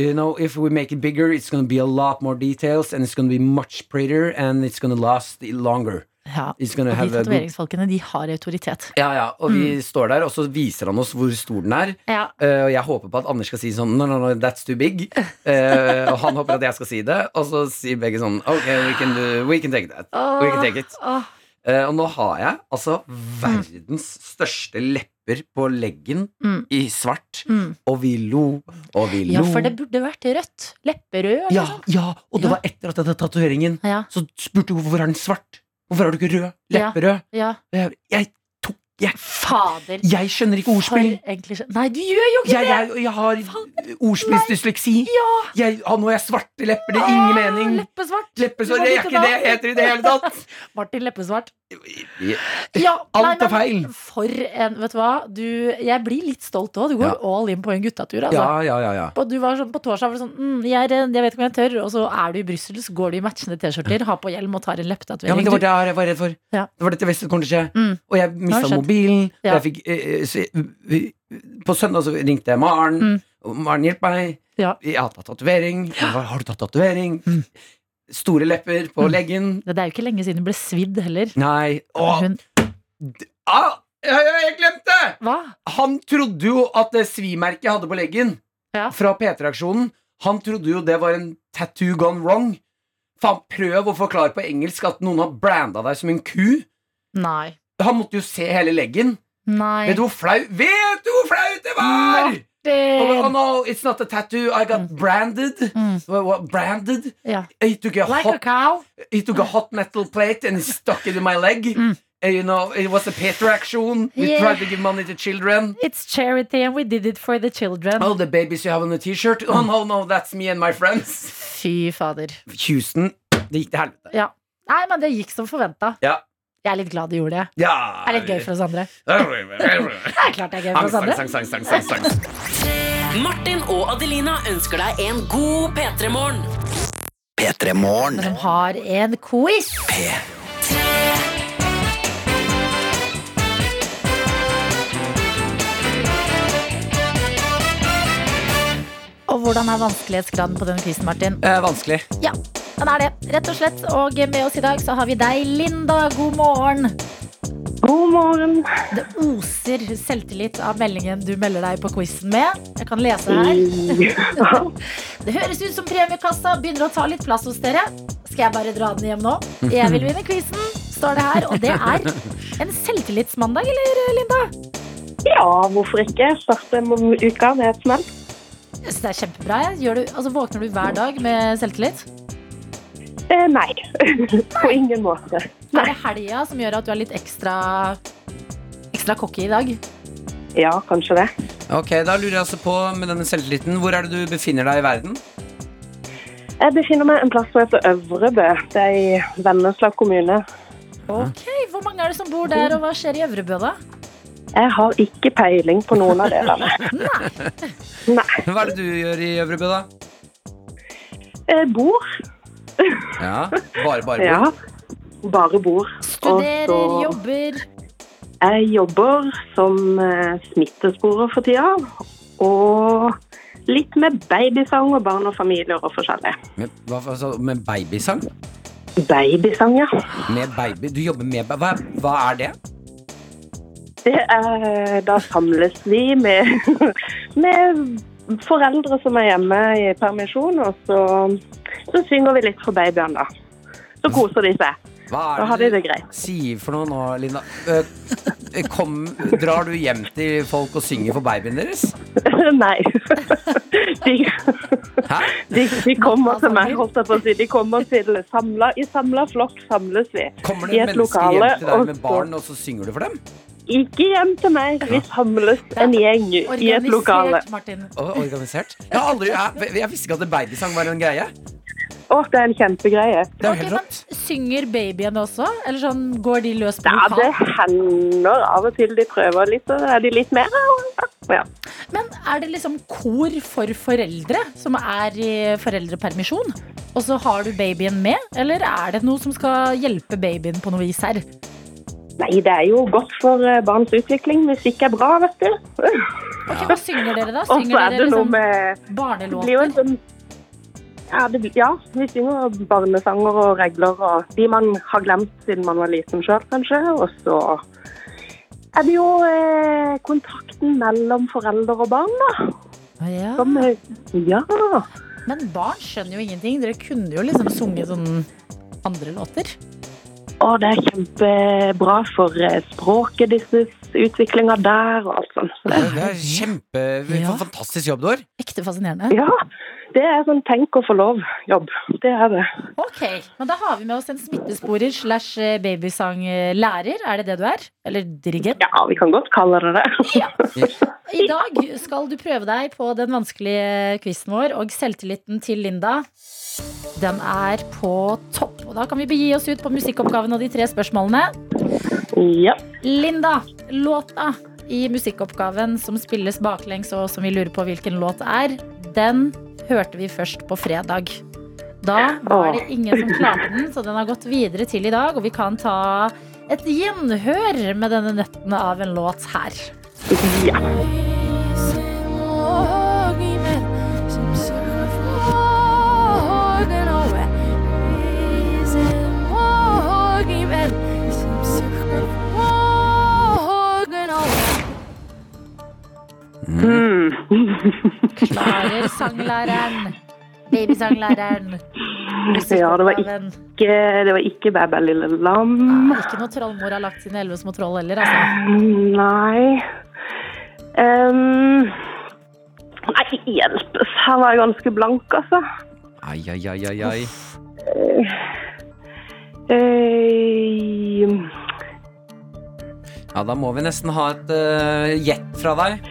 You know, if we make it bigger, it's gonna be a lot more details, and it's gonna be much prettier, and it's gonna last longer. Ja. Og He's gonna de have a good tatoveringsfolkene, de har autoritet. Ja, ja, og vi står der, og så viser han oss hvor stor den er. Ja. Eh, og jeg håper på at Anders skal si sånn No, no, no, that's too big. Eh, og han håper at jeg skal si det, og så sier begge sånn Ok, we can, do, we can take that. We can take it. Åh. Eh, og nå har jeg altså verdens største lepper på leggen Mm. i svart, Mm. og vi lo, og vi lo. Ja, for det burde vært rødt. Lepperød. eller ja, noe sånt. ja, og det Ja. var etter at jeg hadde tatoveringen, Ja, så spurte hun hvorfor er den svart? Hvorfor er du ikke rød? Ja. Lepperød? ja. Og Jeg, jeg tok jeg, Fader. jeg skjønner ikke ordspill. For en klisjé. Nei, du gjør jo ikke Jeg, jeg, jeg har ordspillsdysleksi. Jeg, ah, nå har jeg svarte lepper. Det er ingen mening. Leppesvart. Leppesår Du Altså. må bytte jeg er ikke det jeg navn. heter i det hele tatt. Martin Leppesvart. Ja. Ja, nei, Alt men er feil. For en Vet du hva? Du, jeg blir litt stolt òg. Du går Ja. all in på en guttatur, altså. Ja, ja, ja, ja. Og du var sånn på torsdag var du sånn mm, jeg, er redd, 'Jeg vet ikke om jeg tør', og så er du i Brussel, så går du i matchende T-skjorter, har på hjelm og tar en Ja, men leppetatovering. Det var det jeg var redd for. Ja. Det var dette jeg visste kom til å skje. Mm. Og jeg mista skjønt. mobilen. og Ja. Jeg fikk, eh, så, jeg- på søndag så ringte jeg Maren. Mm. Og Maren, hjelp meg. Ja. Jeg har tatt tatovering. Jeg bare, Har du tatt tatovering? Mm. Store lepper på Mm. leggen. Det er jo ikke lenge siden hun ble svidd heller. Nei. Å, Hun, ah, jeg, jeg, jeg glemte! hva? Han trodde jo at det svimerket jeg hadde på leggen Ja. Fra P3-aksjonen Han trodde jo det var en tattoo gone wrong Faen, prøv å forklare på engelsk At noen har branda deg som en ku Nei. Han måtte jo se hele leggen Nei. Vet du hvor flau Vet du hvor flaut det var? Oh, Martin! no, it's not a tattoo I got branded Mm, Well, what, Branded? ja. He took, a Like a hot, cow. he took a hot metal plate And he stuck it in my leg Mm. Eh, You know, it was a P3-aksjon We Yeah. tried to give money to children It's charity, and we did it for the children. Oh, the babies you have on the t-shirt Oh no, no, that's me and my friends Fy fader. Houston, det gikk til helvete Ja. Nei, men det gikk som forventa. Ja. Jeg er litt glad du gjorde det. Ja Det er litt gøy for oss andre. Sang, Det er klart det er gøy for oss sang, andre. sang, sang, sang, sang, sang. Martin og Adelina ønsker deg en god P3-morgen. Men som har en quiz. Og hvordan er vanskelighetsgraden på den quizen, Martin? Eh, vanskelig Ja, den er det, rett og slett. Og med oss i dag så har vi deg, Linda. God morgen. God morgen. Det oser selvtillit av meldingen du melder deg på quizen med. Jeg kan lese her. Ja. Det høres ut som premiekassa begynner å ta litt plass hos dere. Skal jeg bare dra den hjem nå? Jeg vil vinne quizen, står det her. Og det er en selvtillitsmandag, eller, Linda? ja, hvorfor ikke? Starte mo- uka med et smell. Jeg synes det er kjempebra. jeg. Gjør du, altså, våkner du hver dag med selvtillit? Eh, nei. På ingen måte. Er det helga som gjør at du er litt ekstra, ekstra cocky i dag? Ja, kanskje det. Ok, da lurer jeg altså på med denne selvtilliten Hvor er det du befinner deg i verden? Jeg befinner meg en plass som heter Øvrebø. Det er i Vennesla kommune. Ok, Hvor mange er det som bor der, og hva skjer i Øvrebø, da? Jeg har ikke peiling på noen av delene. Nei. Hva er det du gjør i Øvrebø da? Jeg bor. Ja, bare, bare Ja. Bare bor. Og Studerer, så- jobber Jeg jobber som eh, smittesporer for tida. Og litt med babysang og barn og familier og forskjellig. Med, hva, hva sa du? med babysang? Babysang, ja. Med baby? Du jobber med baby? Hva, hva er det? Det er, da samles vi med, med foreldre som er hjemme i permisjon, og så, så synger vi litt for babyene, da. Så koser de seg. Hva Da har er de det det greit. du sier for noe nå, Linda? Eh, Kom, drar du hjem til folk og synger for babyen deres? Nei. De, Hæ? de, de kommer til meg, holdt jeg på å si. De kommer til samla, I samla flokk samles vi. Kommer I det et et menneske lokale, hjem til deg og med så- barn, og så synger du for dem? Ikke hjem til meg. Vi samles en gjeng i et lokale. Organisert, Martin. Og organisert? Jeg, har aldri, jeg, jeg visste ikke at babysang var en greie. Å, det er en kjempegreie. Det er jo Ok, helt men rått. Synger babyene også? Eller sånn, går de løs på Ja, det vokal? hender av og til de prøver litt, og er de litt mer ja. Men er det liksom kor for foreldre som er i foreldrepermisjon? Og så har du babyen med, eller er det noe som skal hjelpe babyen på noe vis her? Nei, det er jo godt for eh, barns utvikling. Musikk er bra, vet du. Ok, Hva synger dere, da? Og så Synger er dere det noe liksom med Det blir jo en barnelåter? sånn Ja, det, blir- ja, vi synger barnesanger og regler og de man har glemt siden man var liten sjøl, kanskje. Og så er det jo eh, kontakten mellom foreldre og barn, da. Ja. Som, eh, ja. Men barn skjønner jo ingenting. Dere kunne jo liksom sunget sånn andre låter. Og det er kjempebra for eh, språket deres, utviklinga der og alt sånt. Så det, Det er kjempe... Ja. for Fantastisk jobb du har. Ekte fascinerende. ja, det er sånn tenk og få lov-jobb. Det er det. Ok, men da har vi med oss en smittesporer slash eh, babysanglærer. Er det det du er? Eller dirigent? Ja, vi kan godt kalle det det. I dag skal du prøve deg på den vanskelige quizen vår, og selvtilliten til Linda, den er på topp. Og da kan vi begi oss ut på musikkoppgaven og de tre spørsmålene. Ja. Linda, låta i musikkoppgaven som spilles baklengs, og som vi lurer på hvilken låt er, den hørte vi først på fredag. Da var det ingen som klarte den, så den har gått videre til i dag. Og vi kan ta et gjenhør med denne nøtten av en låt her. ja. Mm. Klarer sanglæreren. Babysanglæreren. Ja, det var ikke, Musikkoppgaven. det var ikke Bæ, bæ, lille lam. Nei, Ikke noe trollmor har lagt sine elleve små troll heller, altså. Nei Ehm, Nei, hjelpes. Her var jeg ganske blank, altså. Ai, ai, ai, ai, ai. Ehm, Ja, da må vi nesten ha et eh, gjett fra deg.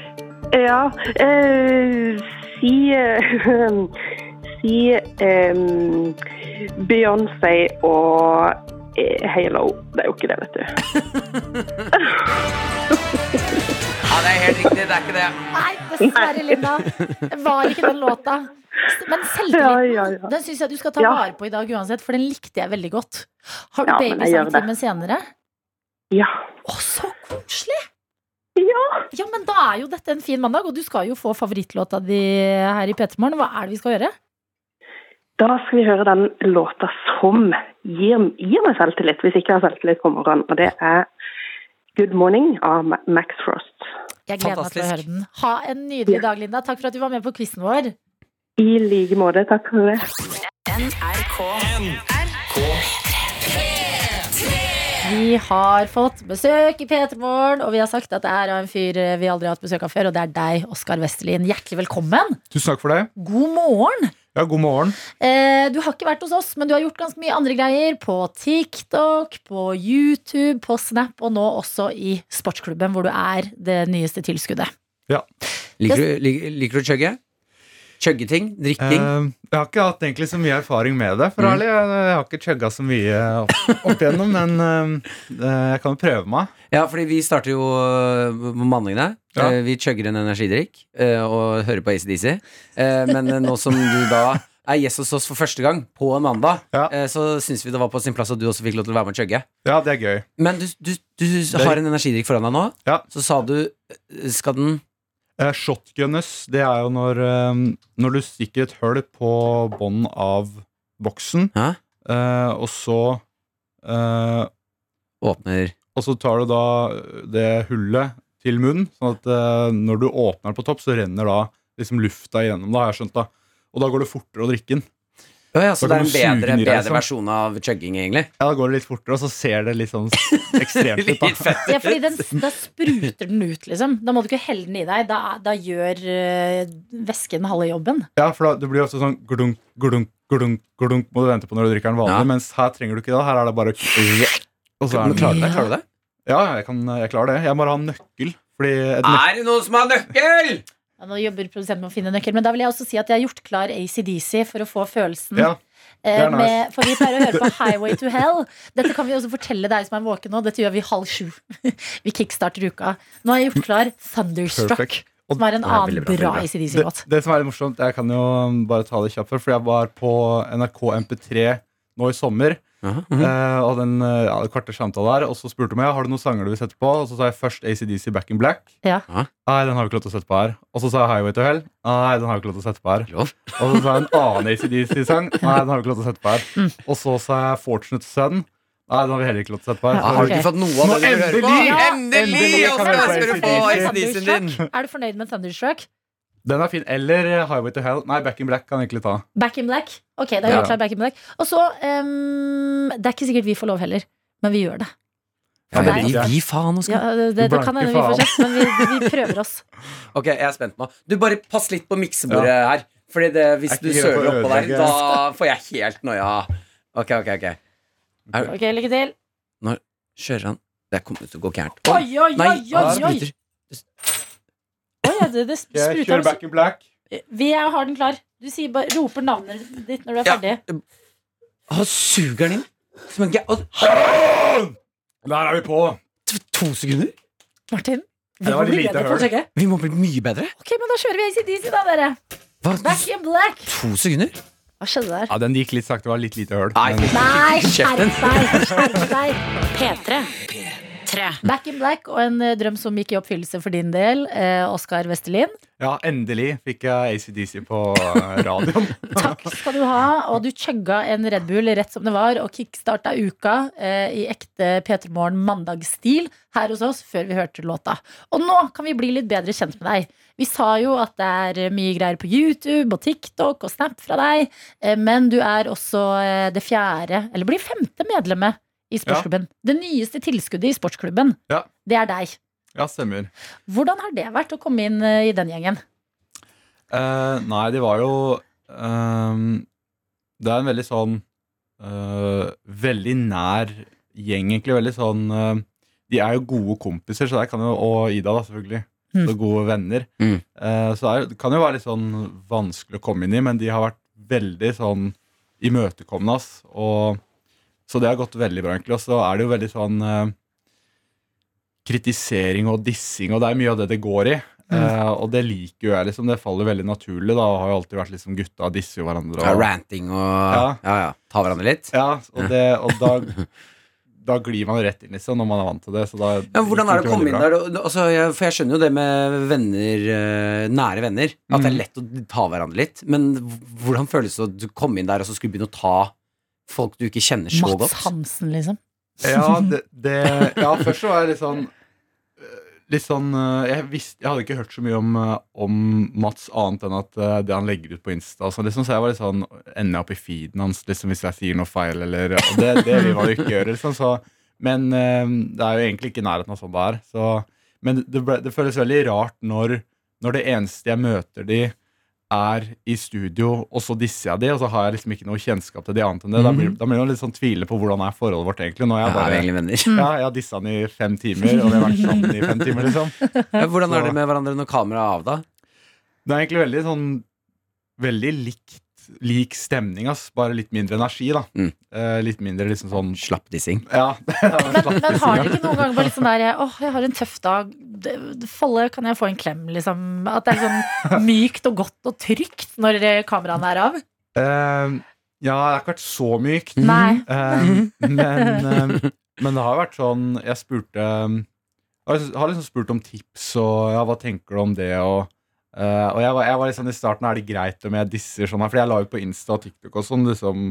ja eh, Si eh, Si ehm, Beyoncé og eh, Halo. Det er jo ikke det, vet du. Ja, det er helt riktig. Det er ikke det. Nei, dessverre, Linda. Det var ikke den låta. Men Ja, ja, selvtilliten ja. den syns jeg du skal ta Ja. vare på i dag uansett, for den likte jeg veldig godt. Har du Ja, men jeg gjør det. babysangtimen senere? Ja. Å, så koselig! Ja. Ja, men da er jo dette en fin mandag, og du skal jo få favorittlåta di her i P3 Morgen. Hva er det vi skal gjøre? Da skal vi høre den låta som gir, gir meg selvtillit, hvis ikke jeg har selvtillit på morgenen. Og det er Good Morning av Ma- Max Frost. Jeg gleder meg til å høre Fantastisk. den. Ha en nydelig dag, Linda. Takk for at du var med på quizen vår. I like måte. Takk for det. Vi har fått besøk i P3 Morgen, og vi har sagt at det er av en fyr vi aldri har hatt besøk av før, og det er deg, Oskar Westerlin. Hjertelig velkommen. Tusen takk for det. God morgen. Ja, god morgen. Eh, du har ikke vært hos oss, men du har gjort ganske mye andre greier. På TikTok, på YouTube, på Snap, og nå også i sportsklubben, hvor du er det nyeste tilskuddet. Liker du, lik, liker du å chugge? Chugge ting? Eh, Drikking? jeg har ikke hatt egentlig så mye erfaring med det, for ærlig. Jeg, jeg har ikke chugga så mye opp, opp igjennom, men eh, jeg kan jo prøve meg. Ja, fordi vi starter jo øh, på mandagene. Ja. Eh, Vi chugger en energidrikk øh, og hører på ACDC. Eh, Men eh, nå som du da er gjest hos oss for første gang på en mandag, Ja. eh, så syns vi det var på sin plass at du også fikk lov til å være med og chugge. Ja, det er gøy. Men du, du, du har en energidrikk foran deg nå. Ja. Så sa du eh, Skal den Eh, shotgunners, det er jo når, eh, når du stikker et hull på bånn av boksen, Hæ? eh, og så eh, åpner Og så tar du da det hullet til munnen, sånn at eh, når du åpner den på topp, så renner da liksom lufta igjennom, da, har jeg skjønt da. Og da går det fortere å drikke den. Å ja, så det Da er kan en du suge bedre, den i deg, bedre liksom. versjon av chugging, egentlig. Ja, da går det litt fortere, og så ser det litt sånn ekstremt ut, da. Litt fett. Ja, fordi den, Da spruter den ut, liksom. Da må du ikke helle den i deg. Da, da gjør eh, væsken halve jobben. Ja, for da, det blir ofte sånn glunk, glunk, glunk, glunk må du vente på når du drikker den vanlig, Ja. mens her trenger du ikke det. Her er det bare Og så er Men den klarer du det? Klarer du det? Ja, jeg, kan, jeg klarer det. Jeg bare har en nøkkel. Fordi et nøk Er det noen som har nøkkel?! Ja, nå jobber produsenten med å finne nøkkel, men da vil jeg også si at jeg har gjort klar ACDC for å få mm, følelsen. ja, eh, er nice. med, for vi pleier å høre på Highway to Hell. Dette kan vi også fortelle deg som er våken nå. Dette gjør vi halv sju. Vi kickstarter uka. Nå har jeg gjort klar Thunderstruck, perfect. Og som er en Det er veldig annen bra, bra veldig bra. det, ACDC-låt. det som er litt um, morsomt, jeg kan jo bare ta det kjapt for, for jeg var på NRK MP3 nå i sommer, Jaha, Eh, og den eh, ja, det kvarters samtale der Og så spurte hun meg har du noen sanger du vil sette på. Og så sa jeg først ACDC Back in Black. Ja. Ja. Nei, den har vi ikke lov til å sette på her. Og så sa jeg Highway to Hell. Nei, den har vi ikke lov til å sette på her. Lov. Og så sa jeg en annen ACDC-sang. Nei, den har vi ikke lov til å sette på her. Mm. Og så sa jeg Fortunate Son. Nei, den har vi heller ikke lov til å sette på Ja, her. Så Har du ok. ikke fått noe av det du hører på? endelig! Endelig! Endelig kan Oskar, jeg skal du få få ACDC. ACDC-en din. Er du fornøyd med Thunderstruck? Den er fin. Eller eh, Highway to Hell. Nei, Back in Black kan jeg egentlig ta. Back in black? Ok, da er vi Ja. klart Back in black. Og så ehm, Det er ikke sikkert vi får lov heller, men vi gjør det. Ja, men gi- gi faen, Oskar. Ja, det, det, det kan hende vi får kjeft, men vi, vi prøver oss. Ok, jeg er spent nå. Du, bare pass litt på miksebordet her. Fordi det, hvis Jeg er du ikke redd for søler å oppå der, ødelegge. da får jeg helt noia. Ok, ok, ok. Ok, Lykke til. Kjører han. Det kommer til å gå gærent. Oi, oi, Nei, oi! oi, han oi. spruter. Oi, ja, det, det Jeg spruter. kjører Back in Black. Vi er, har den klar. Du sier bare, roper navnet ditt når du er Ja. ferdig. Han suger den inn. Som en gæ... og- Der er vi på! t- To sekunder? Martin, vi Det må var bli litt lite bedre på høl. forsøket. Vi må bli mye bedre. Ok, men da kjører vi ACDC, da, dere. Hva? Back in black. To sekunder? Hva skjedde der? Ja, Den gikk litt sakte. Det var litt lite høl. Nei, Men- Nei, Kjeft skjerp den. deg! Skjerp deg! P3. P3. Back in black og en eh, drøm som gikk i oppfyllelse for din del, eh, Oskar Vestelin. Ja, endelig fikk jeg ACDC på eh, radioen. Takk skal du ha. Og du chugga en Red Bull rett som det var, og kickstarta uka eh, i ekte P3 Morgen mandagsstil her hos oss før vi hørte låta. Og nå kan vi bli litt bedre kjent med deg. Vi sa jo at det er mye greier på YouTube og TikTok og Snap fra deg, eh, men du er også eh, det fjerde, eller blir femte medlemmet i sportsklubben. Det nyeste tilskuddet i sportsklubben, Ja. det er deg. Ja, stemmer. Hvordan har det vært å komme inn eh, i den gjengen? Eh, nei, de var jo ehm, Det er en veldig sånn eh, Veldig nær gjeng, egentlig. Veldig sånn eh, De er jo gode kompiser, så der kan jo, og Ida, da, selvfølgelig. Mm. Så gode venner. Mm. Eh, så det er jo- det kan jo være litt sånn vanskelig å komme inn i, men de har vært veldig sånn imøtekommende. ass, Og, så det har gått veldig bra, egentlig. Og så er det jo veldig sånn eh, kritisering og dissing, og det er mye av det det går i. Eh, og det liker jo jeg, liksom. Det faller veldig naturlig. Da har jo alltid vært liksom gutta disser jo hverandre. Ja, Og, ranting og ja. ja, Ta hverandre litt. ja, og, det, og da, da glir man jo rett inn, liksom, når man er vant til det. Så da, Ja, hvordan er det å funker komme inn veldig bra. der? Altså, jeg, for jeg skjønner jo det med venner, eh, nære venner, at det er Mm. lett å ta hverandre litt. Men h- hvordan føles det å du komme inn der og så skulle begynne å ta folk du ikke kjenner så Mats godt? Hansen, liksom. Ja, det, det, ja, først så var jeg litt sånn eh, Litt sånn eh, jeg, visste, jeg hadde ikke hørt så mye om, eh, om Mats annet enn at eh, det han legger ut på Insta. og sånn, liksom, så jeg var litt sånn Ender jeg opp i feeden hans liksom, hvis jeg sier noe feil, eller Og det, det vil man jo ikke gjøre, liksom. Så, men eh, det er jo egentlig ikke i nærheten av sånn det er. Så, men det, ble, det føles veldig rart når, når det eneste jeg møter de er i studio, og så disser jeg de, og så har jeg liksom ikke noe kjennskap til de annet enn det. Da blir, da blir man litt sånn tvile på hvordan er forholdet vårt egentlig. Ja, Når jeg er vi bare egentlig venner? Mm. ja, jeg har dissa han i fem timer, og vi har vært sammen i fem timer, liksom. Ja, hvordan er Så- det med hverandre når kameraet er av, da? Det er egentlig veldig sånn Veldig likt lik stemning, ass. Bare litt mindre energi, da. Mm. Eh, litt mindre liksom sånn Slappdissing. Ja. Men, men har dere ikke noen ganger bare litt sånn der Åh, jeg har en tøff dag. Det- det- Folle, kan jeg få en klem? Liksom. At det er sånn mykt og godt og trygt når eh, kameraene er av. Eh, ja, det har ikke vært så mykt. Mm. Nei. Eh, men, eh, men det har vært sånn Jeg spurte Jeg har liksom spurt om tips og ja, hva tenker du om det og eh, og jeg var, jeg var liksom i starten Er det greit om jeg disser sånn her? Fordi jeg la ut på Insta og TikTok og sånn. Liksom,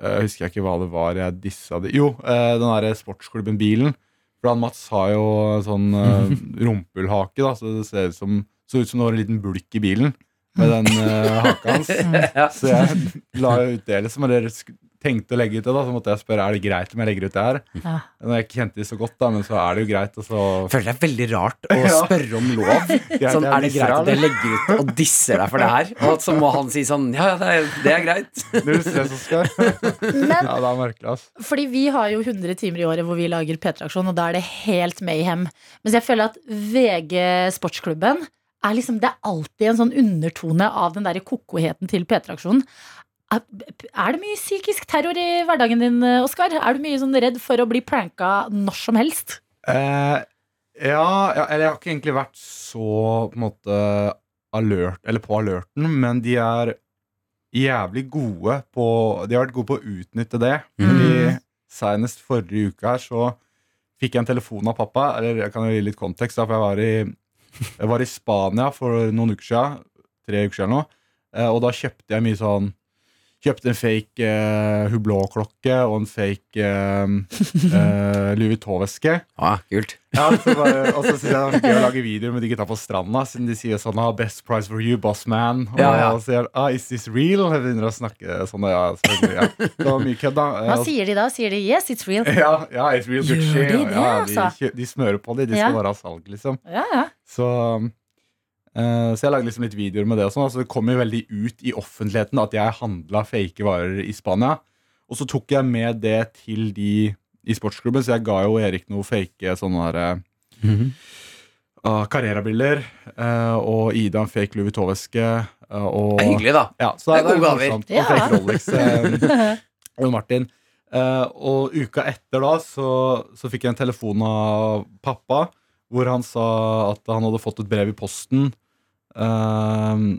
eh, husker jeg ikke hva det var jeg dissa det Jo, eh, den derre sportsklubben Bilen. For han Mats har jo sånn eh, rumpehullhake, da, så det ser ut som, så ut som det var en liten bulk i bilen med den eh, haka hans. Ja. Så jeg la jo ut det, liksom. Eller sk- tenkte å legge ut det, da. Så måtte jeg spørre er det greit om jeg legger ut det her. Ja. Når jeg ikke kjente de så godt, da, men så er det jo greit. Og så Jeg føler det er veldig rart å Ja. spørre om lov. jeg Sånn, er det disser greit at deg, jeg legger ut og disser deg for det her? Og at så må han si sånn Ja, ja, det er, det er greit. Null stress, Oskar. Men Ja, det er merkelig, ass. fordi vi har jo 100 timer i året hvor vi lager P3-aksjon, og da er det helt mayhem. Mens jeg føler at VG Sportsklubben er liksom, det er alltid en sånn undertone av den der kokoheten til P3-aksjonen. Er er det mye psykisk terror i hverdagen din, eh, Oskar? Er du mye sånn redd for å bli pranka når som helst? Eh, ja, ja, eller jeg har ikke egentlig vært så på en måte alert, eller på alerten, men de er jævlig gode på De har vært gode på å utnytte det. Mm. Fordi Senest forrige uke her så fikk jeg en telefon av pappa. Eller jeg kan jo gi litt kontekst, da, for jeg var, i, jeg var i Spania for noen uker siden. Tre uker siden eller noe. eh, Og da kjøpte jeg mye sånn Kjøpte en fake eh, Hublot-klokke og en fake eh, eh, Louis Vuitton-veske. Ah, kult. Ja, så bare, og så syns jeg det var så gøy å lage videoer med de gutta på stranda, siden de sier sånn ah, 'Best price for you, boss man'. Og Ja, ja. så sier ah, 'Is this real?' Og jeg begynner å snakke sånn. og Ja, selvfølgelig, ja. Det var mye kødd, da. Hva Eh, og- sier de da? Sier de 'yes, it's real'? Eh, ja, ja, it's real Gjør Gucci. de det, ja, de, altså? kjø- de smører på det. De skal Ja. bare ha salg, liksom. Ja, ja. Så, eh, så jeg lagde liksom litt videoer med det. Og sånn, altså det kom jo veldig ut i offentligheten at jeg handla fake varer i Spania. Og så tok jeg med det til de i sportsklubben, så jeg ga jo Erik noe fake sånne der, Mhm. uh, Carrera-briller. eh, og Ida en fake Louis Vuitton-veske. eh, og- Det er hyggelig, da. ja, så Det er det er gode morsomt. gaver. Og fake Rolex eh, og Martin. Eh, og uka etter da så, så fikk jeg en telefon av pappa hvor han sa at han hadde fått et brev i posten eh,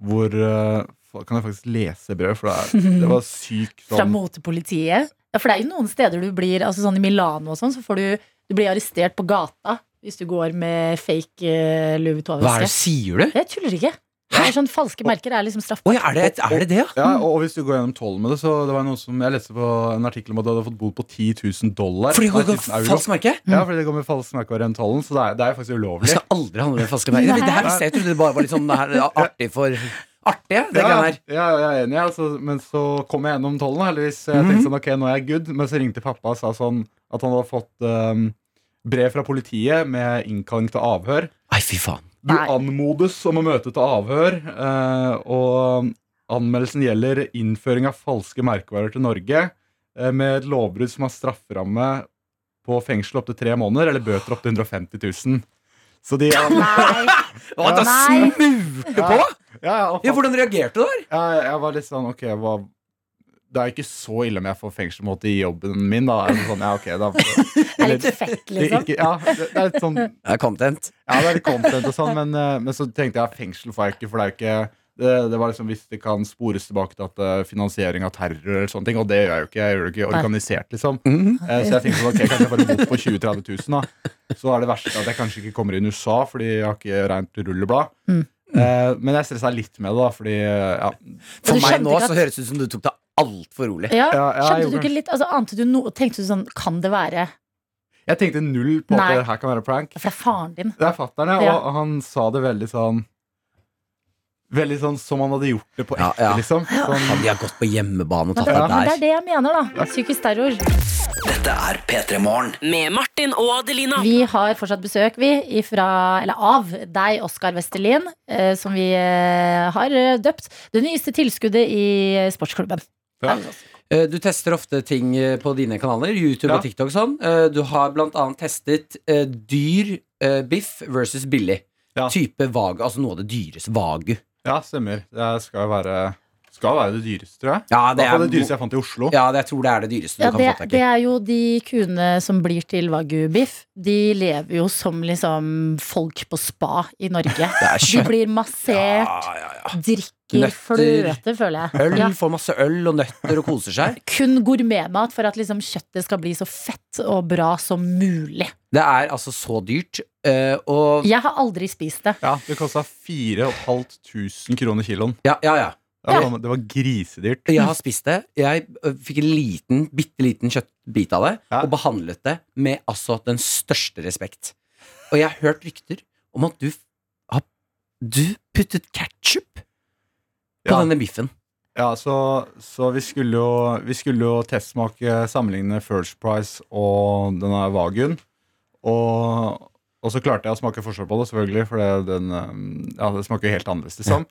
hvor eh, fa- Kan jeg faktisk lese brevet, for det, er, det var sykt Fra sånn motepolitiet? Ja, for det er jo noen steder du blir altså sånn I Milano og sånn, så får du, du blir arrestert på gata hvis du går med fake uh, Louis Hva er det du Vuitton-veske. sier, du? Jeg tuller ikke. Det er sånn Falske merker er liksom straff... Oi, er det er det, det, ja? ja, og, og hvis du går gjennom tollen med det, så det var noen som Jeg leste på en artikkel om at du hadde fått bod på 10 000 dollar. Fordi hun har Nei, 1000 euro. falskt merke? Ja, fordi det går med falsk merkevare gjennom tollen, så det er, det er faktisk Jeg ulovlig. skal aldri handle med falske merker. Det her visste jeg, jeg trodde det bare var litt sånn det her, artig for Artig, ja, det greiene ja, her. ja, jeg er enig, altså, men så kom jeg gjennom tollen, heldigvis. Jeg tenkte sånn, ok, nå er jeg good. Men så ringte pappa og sa sånn at han hadde fått um, brev fra politiet med innkalling til avhør. Nei, fy faen. Du Nei. anmodes om å møte til avhør, eh, og anmeldelsen gjelder innføring av falske merkevarer til Norge eh, med et lovbrudd som har strafferamme på fengsel opptil tre måneder eller bøter opptil 150 000. Så de Nei. Hva, da Nei. smurte på? Ja, ja, og Ja, hvordan reagerte du der? Ja, jeg var litt sånn, ok, hva det er jo ikke så ille om jeg får fengsel på en måte i jobben min, da. Er det Sånn, ja, ok, da. Det er litt fett, Det er liksom. ikke, ja, det det er litt sånn Ja, Det er content. det er litt content og sånn, men, eh, men så tenkte jeg fengsel får jeg ikke, for det er jo ikke det, det var liksom Hvis det kan spores tilbake til at eh, finansiering av terror eller sånne ting, og det gjør jeg jo ikke, jeg gjør det ikke organisert, liksom. Mhm. Eh, Så jeg tenkte sånn, ok, kanskje jeg bare bot på 20 000-30 000, da. Så er det verste at jeg kanskje ikke kommer inn i USA, fordi jeg har ikke rent rulleblad. Mm. Eh, Men jeg stressa litt med det, da, fordi eh, ja, Men For du meg skjønte nå ikke at- så høres det ut som du tok det altfor rolig. Ja, Ja, ja, skjønte du jeg gjorde ikke litt altså, Ante du noe? Tenkte du sånn Kan det være Jeg tenkte null på Nei. at det her kan være prank. For det er faren din. Det er fattern, ja, Ja. og han sa det veldig sånn Veldig sånn som han hadde gjort det på Ja, ekte, ja. liksom. Sånn, Hadde jeg gått på hjemmebane og Men tatt det, men det det er der? det jeg mener, da. Psykisk terror. Med Martin og Adelina. Vi har fortsatt besøk vi ifra, eller av deg, Oskar Vestelin, eh, som vi eh, har eh, døpt det nyeste tilskuddet i eh, sportsklubben. Ja. Eh, Du tester ofte ting eh, på dine kanaler, YouTube Ja. og TikTok og sånn. Eh, Du har blant annet testet eh, dyr eh, biff versus billig. Ja. Type vagu, altså noe av det dyreste vagu. ja, stemmer. Det skal jo være, skal være det dyreste, tror jeg. Ja, Det det er, det dyreste jeg fant i Oslo. ja, det, jeg tror det er det dyreste du Ja, kan det, få tak det i. er jo de kuene som blir til wagyu-biff. De lever jo som liksom folk på spa i Norge. Det er De kjøtt. blir massert, Ja, ja, ja. drikker Nøtter. fløte, føler jeg. Øl, Ja. Får masse øl og nøtter og koser seg. Kun gourmetmat for at liksom kjøttet skal bli så fett og bra som mulig. Det er altså så dyrt. eh, og Jeg har aldri spist det. Ja, Det kosta 4500 kroner kiloen. ja, ja, ja. Ja, det var- sånn, Det var grisedyrt. Jeg har spist det. Jeg ø, fikk en liten, bitte liten kjøttbit av det Ja. og behandlet det med altså den største respekt. Og jeg har hørt rykter om at du f- har Du puttet ketsjup på Ja. denne biffen. Ja, så, så vi skulle jo, vi skulle jo testsmake sammenligne First Price og denne Vaguen. Og, og så klarte jeg å smake forskjell på det, selvfølgelig, for det, den, eh, ja, det smaker jo helt annerledes. liksom.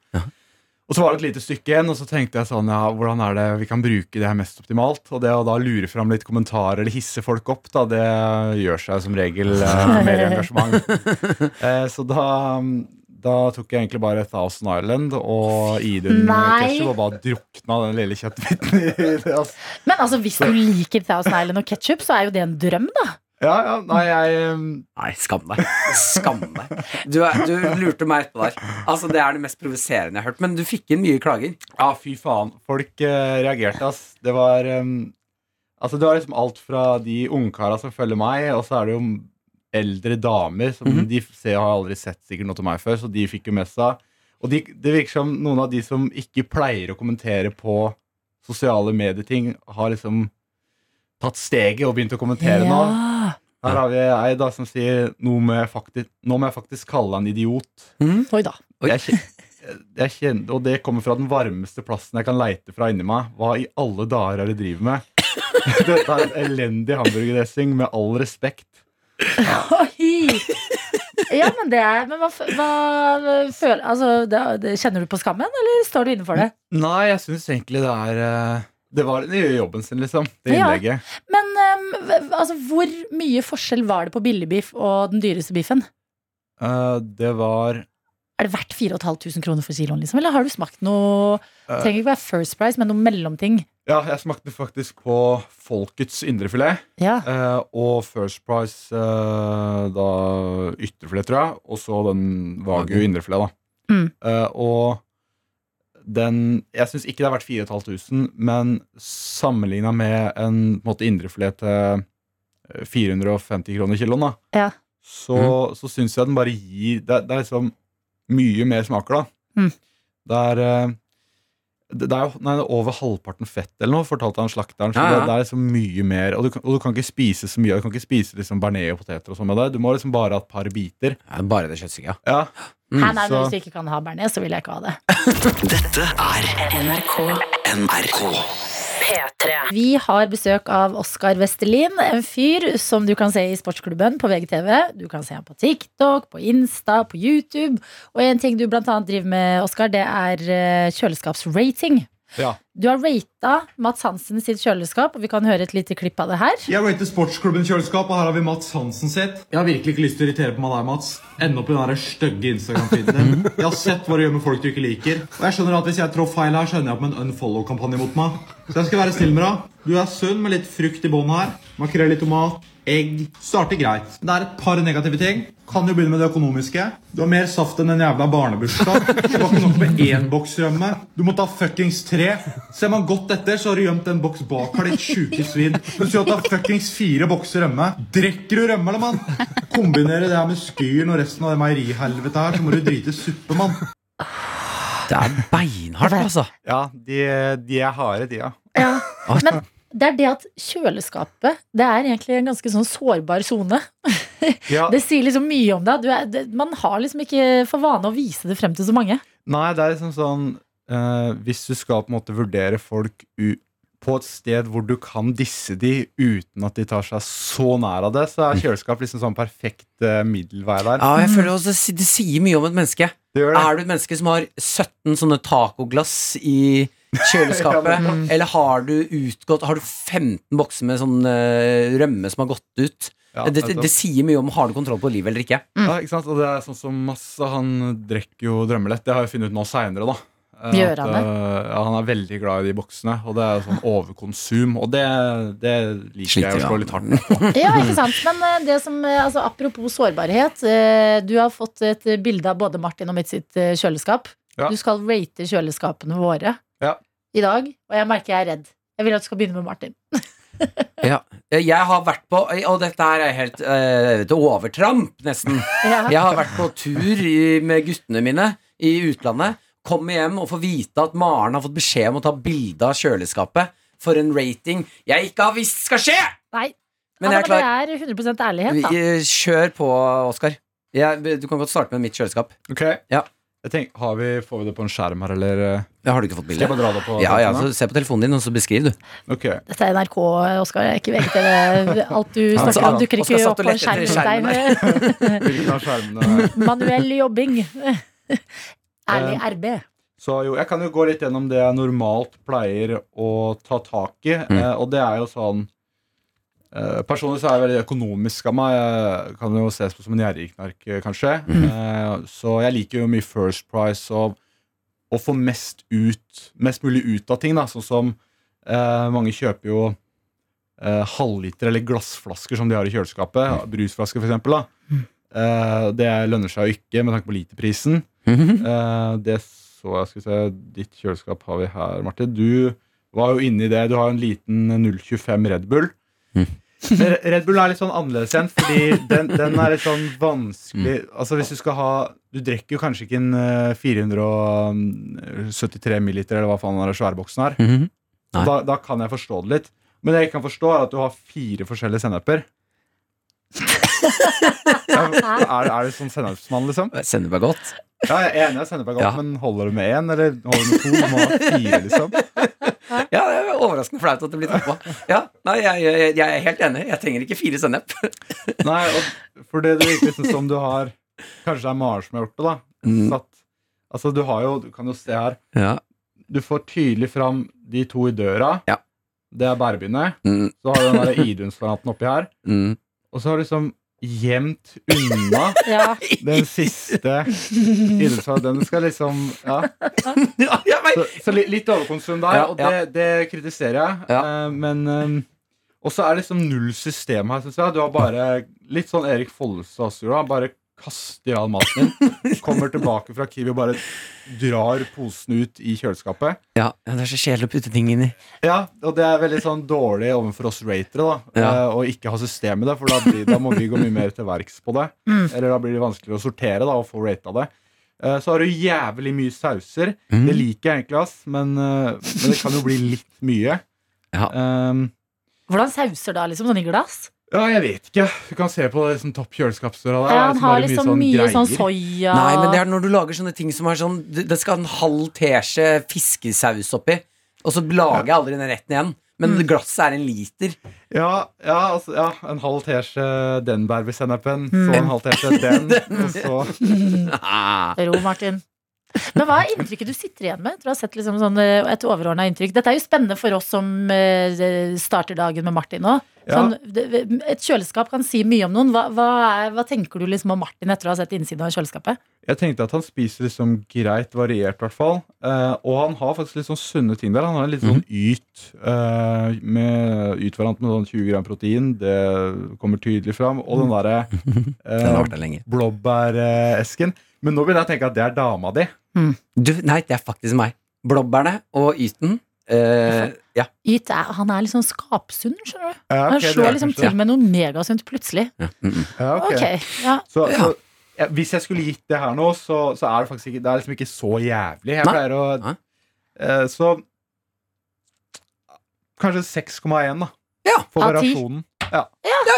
Og så var det et lite stykke igjen, og så tenkte jeg sånn, ja, hvordan er det vi kan bruke det her mest optimalt? Og det å da lure fram litt kommentarer eller hisse folk opp, da, det gjør seg som regel eh, mer engasjement. eh, så da, da tok jeg egentlig bare Thousand Island og Idun Nei. Ketchup og bare drukna den lille kjøttbiten i det. Altså. Men altså, hvis du liker Thousand Island og ketchup, så er jo det en drøm, da. Ja, ja, nei, jeg um, Nei, skam deg. Skam deg. Du, er, du lurte meg etterpå der. Altså, Det er det mest provoserende jeg har hørt. Men du fikk inn mye klager. Ja, fy faen. Folk eh, reagerte, ass. Det var em, Altså, det var liksom alt fra de ungkara som følger meg, og så er det jo eldre damer som Mhm. de ser, har aldri sett sikkert noe til meg før, så de fikk jo med seg. Og de, det virker som noen av de som ikke pleier å kommentere på sosiale medieting, har liksom tatt steget og begynt å kommentere Ja. nå. Her har vi ei da som sier noe med faktisk, 'Nå må jeg faktisk kalle han idiot'. Oi da. Oi. Jeg kjen- jeg kjenner, og det kommer fra den varmeste plassen jeg kan leite fra inni meg. Hva i alle dager er det du driver med? Dette er en elendig hamburgerdressing, med all respekt. Oi! Ja, men det er Men hva, f- hva føler altså, det, det, Kjenner du på skammen, eller står du innenfor Mm. det? Nei, jeg syns egentlig det er eh, Det var den gjør jobben sin, liksom. Det Ja. innlegget. Men ehm, hv- altså, hvor mye forskjell var det på billigbiff og den dyreste biffen? Eh, det var Er det verdt 4500 kroner for kiloen, liksom? Eller har du smakt noe Eh. Trenger ikke være first price, men noe mellomting. Ja, jeg smakte faktisk på Folkets indrefilet. Ja. eh, og First Price eh, da ytterfilet, tror jeg. Og så den Wagyu indrefilet, da. Mm. Eh, og den Jeg syns ikke det er verdt 4500, men sammenligna med en på en måte indrefilet til eh, 450 kroner kiloen, da, Ja. så, Mhm. så syns jeg den bare gir det, det er liksom mye mer smaker, da. Mm. Det er eh, det det er jo nei, det er over halvparten fett eller noe, fortalte han slakteren. Så Ja, ja. Det, det er liksom mye mer Og du, kan- og du kan ikke spise så mye. Du kan ikke spise liksom bearnés og poteter og sånn med det. Du må liksom bare ha et par biter. Ja, bare det kjøttstykket, ja. Ja, Mm, Nei, nei, men så- Hvis du ikke kan ha bearnés, så vil jeg ikke ha det. Vi har besøk av Oskar Vestelin, en fyr som du kan se i Sportsklubben på VGTV. Du kan se ham på TikTok, på Insta, på YouTube. Og en ting du blant annet driver med, Oskar, det er eh, kjøleskapsrating. Ja. Du har rata Mats Hansen sitt kjøleskap, og vi kan høre et lite klipp av det her. Jeg rater sportsklubben kjøleskap, og her har vi Mats Hansen sitt. Jeg har virkelig ikke lyst til å irritere på meg der, Mats. Ende opp i den der stygge Instagram-feeden din. Jeg har sett hva du gjør med folk du ikke liker. Og jeg skjønner at hvis jeg trår feil her, så ender jeg opp med en unfollow-kampanje mot meg. Så jeg skal være snill med deg. Du er sunn med litt frukt i bånn her. Makrell i tomat. Egg. Starter greit. Det er et par negative ting. Kan jo begynne med det økonomiske. Du har mer saft enn en jævla barnebursdag. Det var ikke nok med én boks rømme. Du må ta fuckings tre. Ser man godt etter, så har du gjemt en boks bak her, ditt sjuke svin. Du skal ta fuckings fire bokser rømme. Drikker du rømme, eller, mann? Kombinere det her med skyren og resten av det meierihelvetet her, så må du drite i suppe, mann. Det er beinhardt, altså. ja de, de er harde, de, ja. Men det er det at kjøleskapet det er egentlig en ganske sånn sårbar sone. ja. Det sier liksom mye om deg. Du er- det- Man har liksom ikke for vane å vise det frem til så mange. Nei, det er liksom sånn eh, Hvis du skal på en måte vurdere folk u på et sted hvor du kan disse de uten at de tar seg så nær av det, så er kjøleskap liksom sånn perfekt eh, middelvei der. Mm. Ja, jeg føler også, Det sier mye om et menneske. Det gjør det. Er du et menneske som har 17 sånne tacoglass i kjøleskapet? Eller har du utgått Har du 15 bokser med sånn eh, rømme som har gått ut? Ja, altså. det, det, nettopp. det mm. sier mye om har du kontroll på livet eller ikke. Ja, ikke sant? Og det er sånn som masse Han drikker jo drømmelett. Det har jeg funnet ut nå seinere, da. Eh, Gjør han det? eh, ja, han er veldig glad i de boksene, og det er sånn overkonsum. Og det, det liker jeg å slå litt hardt ned på. Ja, ikke sant. Men eh, det som, eh, altså, apropos sårbarhet. eh, Du har fått et eh, bilde av både Martin og mitt sitt eh, kjøleskap. Ja. Du skal rate kjøleskapene våre Ja. i dag, og jeg merker jeg er redd. Jeg vil at du skal begynne med Martin. Eh, Jeg har vært på Og dette her er helt eh, et overtramp, nesten. Jeg har vært på tur i, med guttene mine i utlandet. Kommer hjem og får vite at Maren har fått beskjed om å ta bilde av kjøleskapet for en rating jeg ikke har visst skal skje! Nei, Men ja, jeg er klar. det er 100 ærlighet, da. Eh, Kjør på, Oskar. Jeg, du kan godt starte med mitt kjøleskap. Ok? Ja. Jeg tenker, har vi, Får vi det på en skjerm her, eller? eh? Jeg har du ikke fått Skal bilde? jeg bare dra det på? Ja, ja, telefonen, så Se på telefonen din, og så beskriv, du. da? Ok. Dette er NRK, Oskar. Ikke VGTV. Alt du Han snakker sa- om, dukker ikke altså, Oskar satt opp og på en lette etter skjerm. Der. Hvilken av skjermene Manuell jobbing. Eh. Ærlig RB. Så jo, jeg kan jo gå litt gjennom det jeg normalt pleier å ta tak i. Eh, og det er jo sånn eh, Personlig så er jeg veldig økonomisk av meg. Jeg kan jo ses på som en gjerrigknark, eh, kanskje. Eh, så jeg liker jo mye First Price og å få mest ut Mest mulig ut av ting, da. Sånn som eh, mange kjøper jo eh, halvliter eller glassflasker som de har i kjøleskapet. Brusflasker, for eksempel. Da. Eh, det lønner seg jo ikke med tanke på literprisen. Mhm, Eh, det så jeg skal vi se, Ditt kjøleskap har vi her, Martin. Du var jo inne i det. Du har jo en liten 025 Red Bull. Men Red Bullen er litt sånn annerledes igjen, fordi den, den er litt sånn vanskelig Altså hvis Du skal ha Du drikker jo kanskje ikke en eh, 473 mm, milliliter, eller hva faen den der svære boksen er. Mhm. Nei. da, da kan jeg forstå det litt. Men det jeg ikke kan forstå, er at du har fire forskjellige senneper. Ja, er, er du sånn sennepsmann, liksom? Sender meg godt. Ja, jeg er enig i at sennep er godt, Ja. men holder du med én, eller holder du med to? Du må ha fire, liksom. Ja, det er overraskende flaut at det blir tatt på. Ja, nei, jeg, jeg, jeg er helt enig. Jeg trenger ikke fire sennep. Nei, og for det det virker liksom som du har Kanskje det er Maren som har gjort det, da. Mm. Satt, altså, du har jo Du kan jo se her. Ja. Du får tydelig fram de to i døra. Ja. Det er bærebindet. Mm, Så har du den der Idun-granaten oppi her. mm. Og så har du liksom gjemt unna Ja. den siste idrettsfag, den skal liksom Ja. Ja, jeg vet. Så, så li- litt overkonsum der, Ja, og ja. det, det kritiserer jeg. Ja. Eh, men eh, Og så er det liksom null system her, syns jeg. Du har bare litt sånn Erik Follestad også gjorde. Han bare kaster all maten din. Kommer tilbake fra Kiwi og bare drar posen ut i kjøleskapet. Ja, det er så kjedelig å putte ting inn i. Ja, og det er veldig sånn dårlig overfor oss ratere, da. Ja. eh, Å ikke ha system i det, for da, blir, da må vi gå mye mer til verks på det. Mm. Eller da blir det vanskeligere å sortere da, og få rata det. Eh, Så har du jævlig mye sauser. Det liker jeg egentlig, ass, men, eh, men det kan jo bli litt mye. Ja. Ehm, Hvordan sauser da, liksom? Sånn i glass? ja, jeg vet ikke. Du kan se på det, sånn topp kjøleskapsdøra der. Ja, det han er har veldig liksom mye sånn greier. soya Nei, men det er når du lager sånne ting som er sånn Det det skal en halv teskje fiskesaus oppi, og så lager jeg aldri den retten igjen. Men Mm. glasset er en liter. Ja, ja, altså, ja, en halv eh, teskje den bærbesennepen, Mm. så en halv teskje den, og så Ah. Ro, Martin. Men hva er inntrykket du sitter igjen med? etter å ha sett liksom sånn, eh, et overordna inntrykk? Dette er jo spennende for oss som eh, starter dagen med Martin nå. Sånn, det- et kjøleskap kan si mye om noen. Hva, hva, er, hva tenker du liksom om Martin etter å ha sett innsiden av kjøleskapet? Jeg tenkte at han spiser liksom greit variert, i hvert fall. Eh, og han har faktisk litt sånn sunne ting der. Han har en litt sånn yt. Eh, med ytvariant med sånn 20 gram protein. Det kommer tydelig fram. Og den derre Den har eh, vært der lenge. blåbæresken. Men nå begynner jeg å tenke at det er dama di. Du, nei, det er faktisk meg. Blåbærene og yten. Eh, ja. Yt er, han er litt sånn skapsunn, skjønner du. Ja, Han ok, det er slår liksom kanskje til med noe megasunt plutselig. det. Ja, ok. Ok, ja. Så, så ja, hvis jeg skulle gitt det her nå, så, så er det faktisk ikke Det er liksom ikke så jævlig. Jeg Nei. pleier å Nei. eh, Så Kanskje 6,1, da. Ja, For av ti. variasjonen. ja,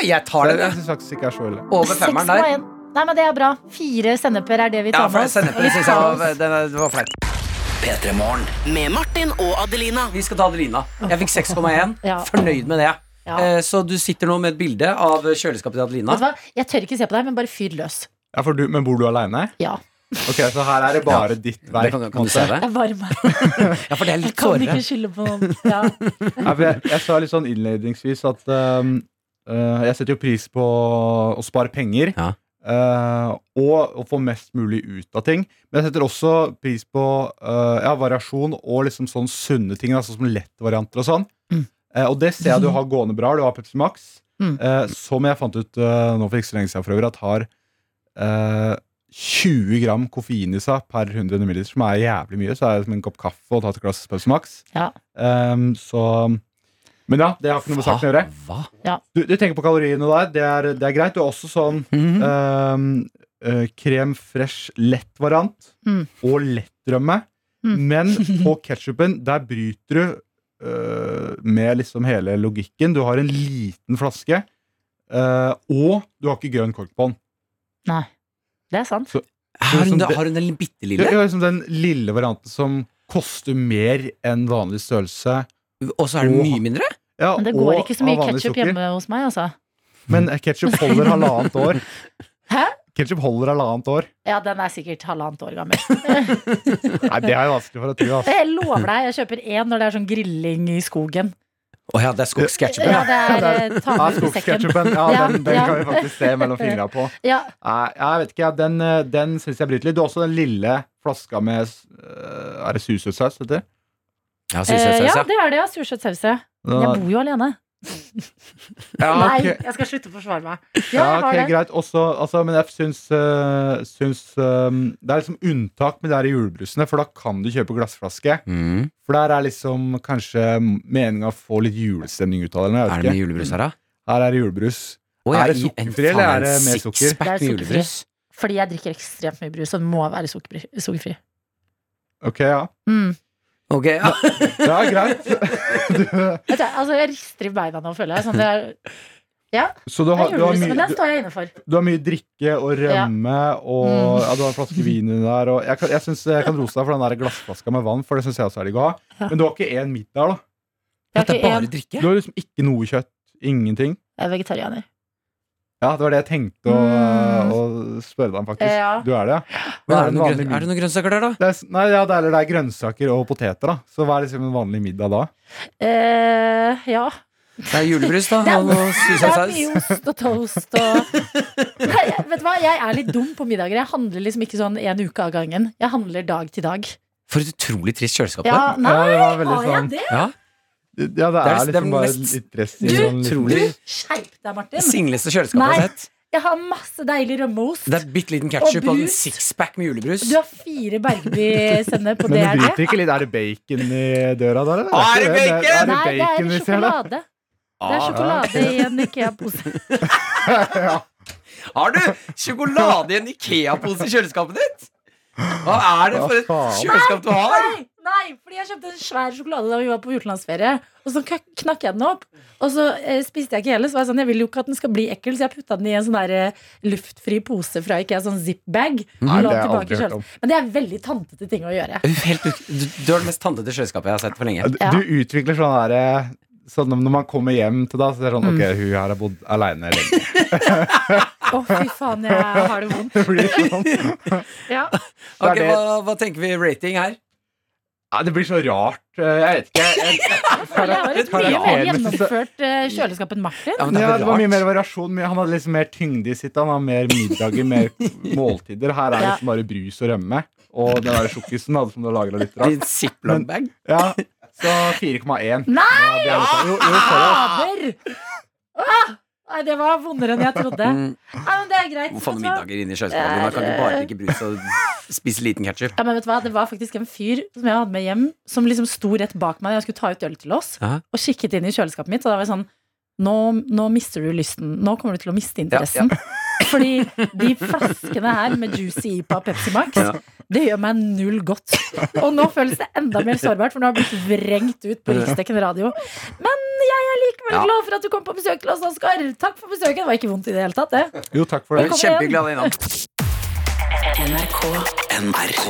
jeg tar Jeg, det jeg syns faktisk ikke er så ille. over femmeren der. 6,1. Nei, men det er bra. Fire senneper er det vi Ja, tar for med jeg oss. sender på det, Litt synes jeg kaos. var- den er- det var flaut. Med Martin og Adelina. Vi skal ta Adelina. Jeg fikk 6,1. Ja. Fornøyd med det. Ja. Eh, Så du sitter nå med et bilde av kjøleskapet til Adelina. Vet du hva? Jeg tør ikke se på deg, men bare fyr løs. Ja, for du, men bor du aleine? Ja. Ok, så her er det bare ditt Det verk. kan, kan du se det? Jeg er varm. Sånn, Ja, for det er Jeg litt kan sårere. ikke skylde på noen. Ja. Ja, for jeg, jeg sa litt sånn innledningsvis at ehm, eh, jeg setter jo pris på å spare penger. Ja. eh, og å få mest mulig ut av ting. Men jeg setter også pris på eh, ja, variasjon og liksom sånn sunne ting. da, Sånn som lettvarianter og sånn. Eh, og det ser jeg du har gående bra. Du har Pepsi Max. Mm. eh, som jeg fant ut eh, nå for ikke så lenge siden for øvrig, at har eh, 20 gram koffein i seg per 100 ml, som er jævlig mye. Så er det som en kopp kaffe og ta et glass Pepsi Max. Ja. Ehm, så Men ja, det har ikke noe med saken å gjøre. Hva? Du, du tenker på kaloriene der, det er, det er greit. Du har også sånn Mhm. Mm. ehm, eh, krem fresh lett variant Mm. og lettrømme. Mm. Men på ketsjupen, der bryter du eh, med liksom hele logikken. Du har en liten flaske, eh, og du har ikke grønn kork på den. Nei. Det er sant. Har hun, Som det- har hun den bitte Du lille? har liksom den lille varianten som koster mer enn vanlig størrelse. Og så er det mye mindre? Ja, Men det går og ikke så av mye vanlig ketsjup sukker. hjemme hos meg, altså. Men ketsjup holder halvannet år. Hæ? Ketchup holder halvannet år. Ja, den er sikkert halvannet år gammel. Nei, Det er jo vanskelig for å tro. ass. Jeg lover deg, jeg kjøper én når det er sånn grilling i skogen. Å ja, det er skogsketchup. Ja, det er eh, ta med i Ja, sekken. Ah, skogsketchupen. Ja, Ja, den, den ja. kan vi faktisk se mellom fingrene på. Ja, Nei, jeg vet ikke, ja, Den, eh, den syns jeg bryter litt. Du har også den lille flaska med eh, Er det susøtsaus, heter det? Ja, eh, synsøtsaus, ja ja. det er det, ja. Sursøt saus. ja. Jeg Den- bor jo alene. Ja, Nei, Ah, ok. jeg skal slutte å forsvare meg. Ja, Ja, jeg har ok, det. greit. Også, altså, men jeg syns, øh, syns øh, Det er liksom unntak med det her i julebrusene, for da kan du kjøpe glassflaske. Mm. For der er liksom kanskje meninga å få litt julestemning ut av det. Er eller det mye noe, Jeg vet ikke. julebrus her, da? Her er det julebrus. Å, Er det i en- sukkerfri, eller faen, er det en med sukker? sixpack Det er med sukkerfri. julebrus. Fordi jeg drikker ekstremt mye brus, så det må være sukkerfri. sukkerfri. Ok, ja. Mm. Ok, ja. Det er greit. Du, Vet du, altså, jeg rister i beina nå, føler jeg. Sånn, det er, så du det er har, du, har julebrus, men mye, den står jeg inne for. du, du har mye drikke og rømme, Mm. og ja, du har en flaske vin under der. Og jeg kan, jeg, synes, jeg kan rose deg for den der glassflaska med vann, for det syns jeg også er digg å ha. Men du har ikke én midt der, Jeg da. er, Det er ikke bare en, drikke. Du har liksom ikke noe kjøtt. Ingenting. jeg er vegetarianer. Ja, det var det jeg tenkte å, Mm. å spørre deg om, faktisk. Ja. Du er det, ja? Men Hva er det, noen vanlig grøn, er det middag? noen grønnsaker der, da? Det er, s- nei, ja, det er, eller det er grønnsaker og poteter, da. Så hva er liksom en vanlig middag da? Eh, ja. Det er julebrus, da. Det er- Og noe Det er susasaus. mye ost og toast og Nei, jeg, Vet du hva, jeg er litt dum på middager. Jeg handler liksom ikke sånn en uke av gangen. Jeg handler dag til dag. For et utrolig trist kjøleskap. Ja, Ja. nei, ja, det var veldig har jeg sånn det? ja. Ja, det Det er er s- det er liksom bare mest- litt dress i Du, sånn liten- utrolig Skjerp deg, Martin. singleste kjøleskapet jeg har sett. Jeg har masse deilig rømmeost. Det er bitte liten ketsjup Og og en brus. sixpack med julebrus. Du har fire Bergby-sennep, og Men det du er det. bryter ikke litt Er det bacon i døra der, eller? Ah, er ikke det Det er, Nei, det bacon er vi ser, da? Ah. sjokolade. Det Ah, er sjokolade i en Ikea-pose. Har du sjokolade i en Ikea-pose i kjøleskapet ditt? Hva er det for et Hva faen? kjøleskap du har? Nei, nei, fordi jeg kjøpte en svær sjokolade da vi var på utenlandsferie. Og så knak- knakk jeg den opp, og så eh, spiste jeg ikke hele. Så var jeg sånn, jeg vil jo ikke at den skal bli ekkel, så jeg putta den i en sånn der eh, luftfri pose fra Ikea, sånn zip-bag. og Nei, la Mhm. det har jeg tilbake i aldri hørt kjølen. om. Men det er veldig tantete ting å gjøre. Helt, ut- du, du har det mest tantete kjøleskapet jeg har sett på lenge. Du utvikler sånn derre Sånn når man kommer hjem til deg, så er det sånn Ok, hun her har bodd aleine lenge. Å, fy faen, jeg har det vondt. Det blir sånn. Ja. Det er Ok, det- hva, hva tenker vi rating her? Nei, det blir så rart. Eh, Jeg vet ikke. Jeg, Det var et mye mer Karaktermessig så- gjennomført eh, kjøleskap enn Martin. Ja, men det Ja, er det var vel mye mer rart. variasjon. men Han hadde liksom mer tyngde i sitt. Han hadde mer middager, mer måltider. Her er det Ja. liksom bare brus og rømme. Og den der sjokkisen da, som du har lagra litt rart. Din Ziploc-bag. Ja, så 4,1. Nei! Ja, det er litt- jo, jo, sorry. Fader! Ah! Nei, det var vondere enn jeg trodde. Mm. Nei, men det er greit. Hvorfor Vet har du du hva? middager inne i kjøleskapet? Man kan ikke bare drikke brus og spise liten ketsjup. Ja, men vet du hva? Det var faktisk en fyr som jeg hadde med hjem, som liksom sto rett bak meg da jeg skulle ta ut øl til oss, Ja. og kikket inn i kjøleskapet mitt. Og da var jeg sånn nå, nå mister du lysten. Nå kommer du til å miste interessen. Fordi de flaskene her med Juicy IPA og Pepsi Max, Ja. det gjør meg null godt. Og nå føles det enda mer sårbart, for nå har jeg blitt vrengt ut på riksdekkende radio. Men jeg er likevel Ja. glad for at du kom på besøk til oss, Oskar. Takk for besøket. Det var ikke vondt i det hele tatt, det. jo, takk for det. Velkommen. Kjempehyggelig å ha deg innom. NRK.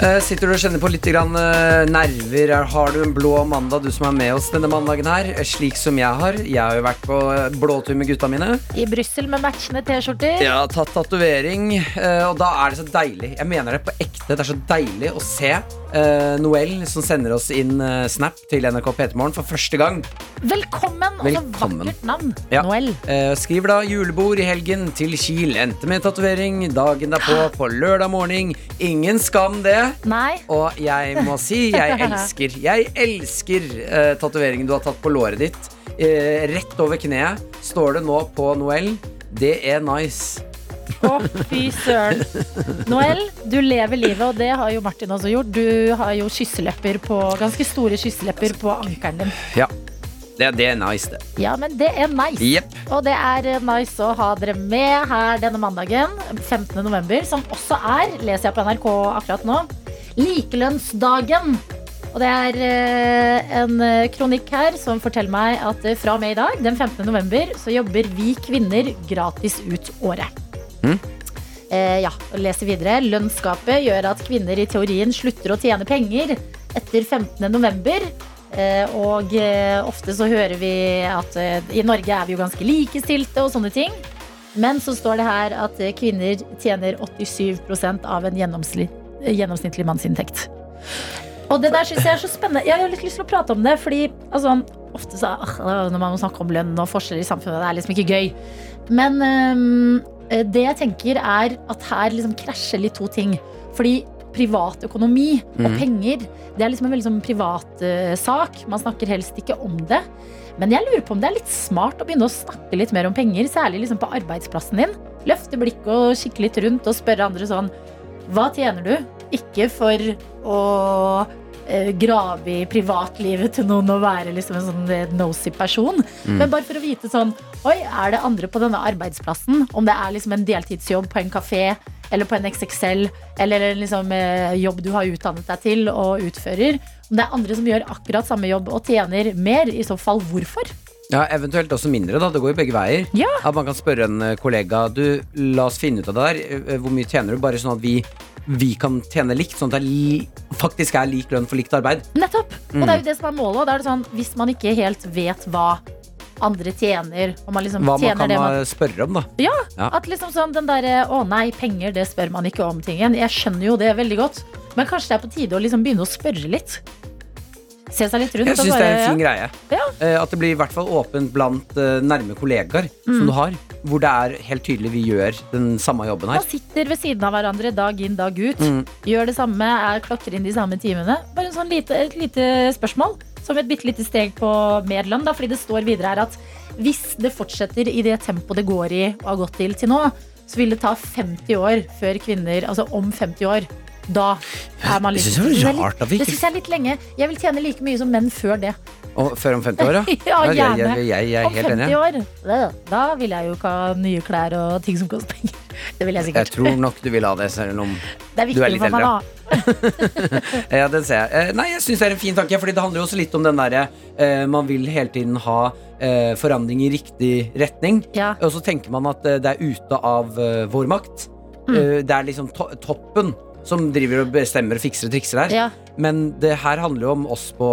Eh, Sitter du og kjenner på litt grann, eh, nerver? Er- Har du en blå mandag, du som er med oss denne mandagen her? eh, Slik som jeg har. Jeg har jo vært på eh, blåtur med gutta mine. I Brussel med matchende T-skjorter. Jeg har tatt tatovering, eh, og da er det så deilig. Jeg mener det på ekte. Det er så deilig å se eh, Noel som sender oss inn eh, snap til NRK P3morgen for første gang. Velkommen, altså, og så Velkommen. vakkert navn. Ja. Noel. Eh, skriver da 'julebord i helgen til Kiel'. Endte med tatovering dagen derpå på lørdag morgen. Ingen skam, det. Nei. Og jeg må si jeg elsker Jeg elsker eh, tatoveringen du har tatt på låret ditt. Eh, rett over kneet står det nå på Noel. Det er nice. Å, fy søren. Noel, du lever livet, og det har jo Martin også gjort. Du har jo kysselepper på, ganske store kysselepper på ankelen din. Det, det er nice, det. Ja, men det er nice. Jepp. Og det er eh, nice å ha dere med her denne mandagen, 15. november, som også er, leser jeg på NRK akkurat nå, likelønnsdagen. Og det er eh, en eh, kronikk her som forteller meg at eh, fra og med i dag, den 15. november, så jobber vi kvinner gratis ut året. Eh, ja, og leser videre. Lønnsgapet gjør at kvinner i teorien slutter å tjene penger etter 15. november. Eh, Og eh, ofte så hører vi at eh, i Norge er vi jo ganske likestilte og sånne ting. Men så står det her at eh, kvinner tjener 87 av en gjennomsli- eh, gjennomsnittlig mannsinntekt. Og det der synes jeg er så spennende. Jeg har litt lyst til å prate om det, fordi altså, ofte så ah, når man må snakke om lønn og forskjeller i samfunnet, det er liksom ikke gøy. eh, Men øhm, det jeg tenker er at her liksom krasjer litt to ting. Fordi privat økonomi og penger. Det er liksom en veldig sånn privat eh, sak. Man snakker helst ikke om det. Men jeg lurer på om det er litt smart å begynne å snakke litt mer om penger, særlig liksom på arbeidsplassen din. Løfte blikket og kikke litt rundt og spørre andre sånn Hva tjener du? Ikke for å eh, grave i privatlivet til noen og være liksom en sånn eh, nosy person, Mm. men bare for å vite sånn Oi, er det andre på denne arbeidsplassen? Om det er liksom en deltidsjobb på en kafé eller på en XXL, eller liksom eh, jobb du har utdannet deg til og utfører. Om det er andre som gjør akkurat samme jobb og tjener mer, i så fall hvorfor? Ja, Eventuelt også mindre. da, Det går jo begge veier. Ja. At Man kan spørre en eh, kollega Du, la oss finne ut av det der. Eh, Hvor mye tjener du? Bare sånn at vi, vi kan tjene likt. Sånn at det er li faktisk er lik lønn for likt arbeid. Nettopp! Og Mm. det er jo det som er målet. Og da er det sånn, hvis man ikke helt vet hva andre tjener, om man liksom Hva man tjener kan det man eh, spørre om, da. Ja, Ja. at liksom sånn den derre Å nei, penger, det spør man ikke om tingen. Jeg skjønner jo det veldig godt. Men kanskje det er på tide å liksom begynne å spørre litt. Se seg litt rundt. Jeg syns det er en fin greie. Ja. Eh, At det blir i hvert fall åpent blant eh, nærme kollegaer Mm. som du har. Hvor det er helt tydelig vi gjør den samme jobben Man her. sitter ved siden av hverandre dag inn, dag ut. Mm. Gjør det samme, er klokker inn de samme timene. Bare en sånn lite, et lite spørsmål, som et bitte lite steg på mer lønn. da, Fordi det står videre her at hvis det fortsetter i det tempoet det går i og har gått til til nå, så vil det ta 50 år før kvinner Altså om 50 år. Da er man Jeg litt synes det var Det er rart litt- at vi ikke- Det syns jeg er litt lenge. Jeg vil tjene like mye som menn før det. Og før om 50 år, ja? Ja, jeg, jeg, gjerne. jeg, jeg er Om helt 50 enig. år, øh, da vil jeg jo ikke ha nye klær og ting som koster penger. Det vil jeg Jeg sikkert. tror nok du vil ha det, selv om Det er du er viktig litt for meg, eldre. da. Ja, den ser jeg. Eh, Nei, jeg syns det er en fin tanke, Fordi det handler jo også litt om den derre eh, Man vil hele tiden ha eh, forandring i riktig retning. Ja. Og så tenker man at eh, det er ute av eh, vår makt. Mm. Eh, det er liksom to toppen som driver og bestemmer og fikser og trikser her. Ja, Men det her handler jo om oss på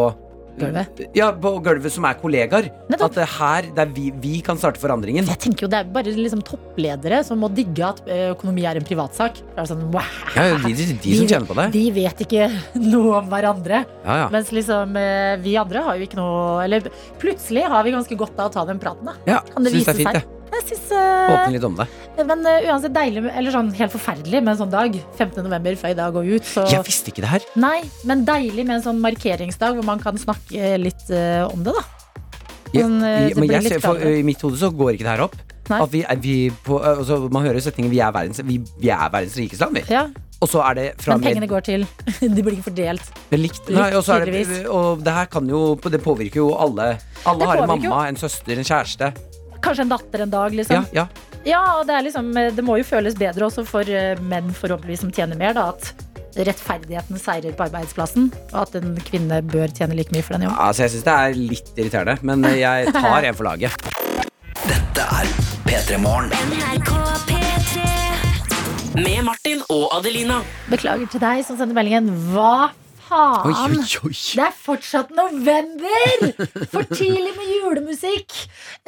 Gulvet. Ja, på gulvet som er kollegaer. Nettopp. At det er her det er vi, vi kan starte forandringen. jeg tenker jo Det er bare liksom toppledere som må digge at ø, økonomi er en privatsak. Det er sånn, wow, Ja, de, de, de som tjener på det. De vet ikke noe om hverandre. Ja, ja. Mens liksom ø, vi andre har jo ikke noe Eller plutselig har vi ganske godt av å ta den praten, da. ja Kan det syns det er vise fint, seg? jeg. Jeg synes, Åpne ø, litt om det. men ø, uansett deilig, med- eller sånn helt forferdelig med en sånn dag. 15. november, føy dag og ut. Så Jeg visste ikke det her. nei, men deilig med en sånn markeringsdag hvor man kan snakke litt ø, om det, da. Ja, Sånn, eh, i- det men blir jeg litt ser, for, klarere. I mitt hode så går ikke det her opp. Nei. At vi, er- vi på, altså, man hører setningen vi er verdens, vi, vi er verdens rikeste land, vi. Ja, Og så er det fra Men pengene går til De blir ikke fordelt. med likt. Nei, og, så er tydeligvis. det, og det her kan jo Det påvirker jo alle. Alle Det har en påvirker jo. mamma, en søster, en kjæreste. Kanskje en datter en dag, liksom. Ja, ja. Ja, og det, er liksom, det må jo føles bedre også for eh, menn forhåpentligvis som tjener mer, da, at rettferdigheten seirer på arbeidsplassen, og at en kvinne bør tjene like mye for den jobben. Altså, jeg syns det er litt irriterende, men eh, jeg tar en for laget. Med Martin og Adelina. Beklager til deg som sender meldingen. Hva faen? Oi, oi, oi. Det er fortsatt november! For tidlig med julemusikk.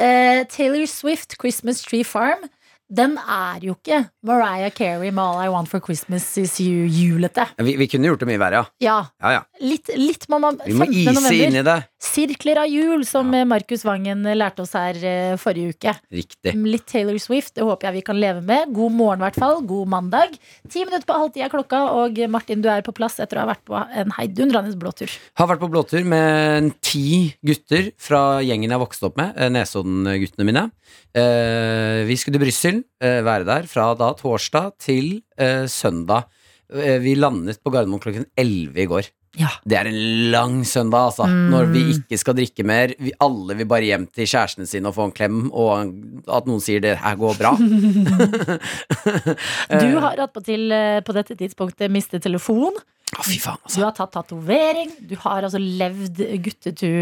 Eh, Taylor Swift, 'Christmas Tree Farm', den er jo ikke Mariah Carey med 'All I Want for Christmas Is You'-julete. Vi, vi kunne gjort det mye verre, ja. Ja, ja, ja. litt, litt må man Vi må 15. ise november. inn i det. Sirkler av jul, som eh, Markus Vangen eh, lærte oss her eh, forrige uke. Riktig. Litt Taylor Swift, det håper jeg vi kan leve med. God morgen, i hvert fall. God mandag. Ti minutter på halvtid er klokka, og eh, Martin, du er på plass etter å ha vært på en heidundrende blåtur. Har vært på blåtur med ti gutter fra gjengen jeg vokste opp med, eh, Nesodden-guttene mine. Eh, vi skulle til Brussel, eh, være der fra da torsdag til eh, søndag. Eh, vi landet på Gardermoen klokken 11 i går. Ja. Det er en lang søndag, altså. Når vi ikke skal drikke mer. Vi alle vil bare hjem til kjærestene sine og få en klem, og at noen sier 'det her går bra'. Du har attpåtil eh, på dette tidspunktet mistet telefon. Å, fy faen, altså. Du har tatt tatovering. Du har altså levd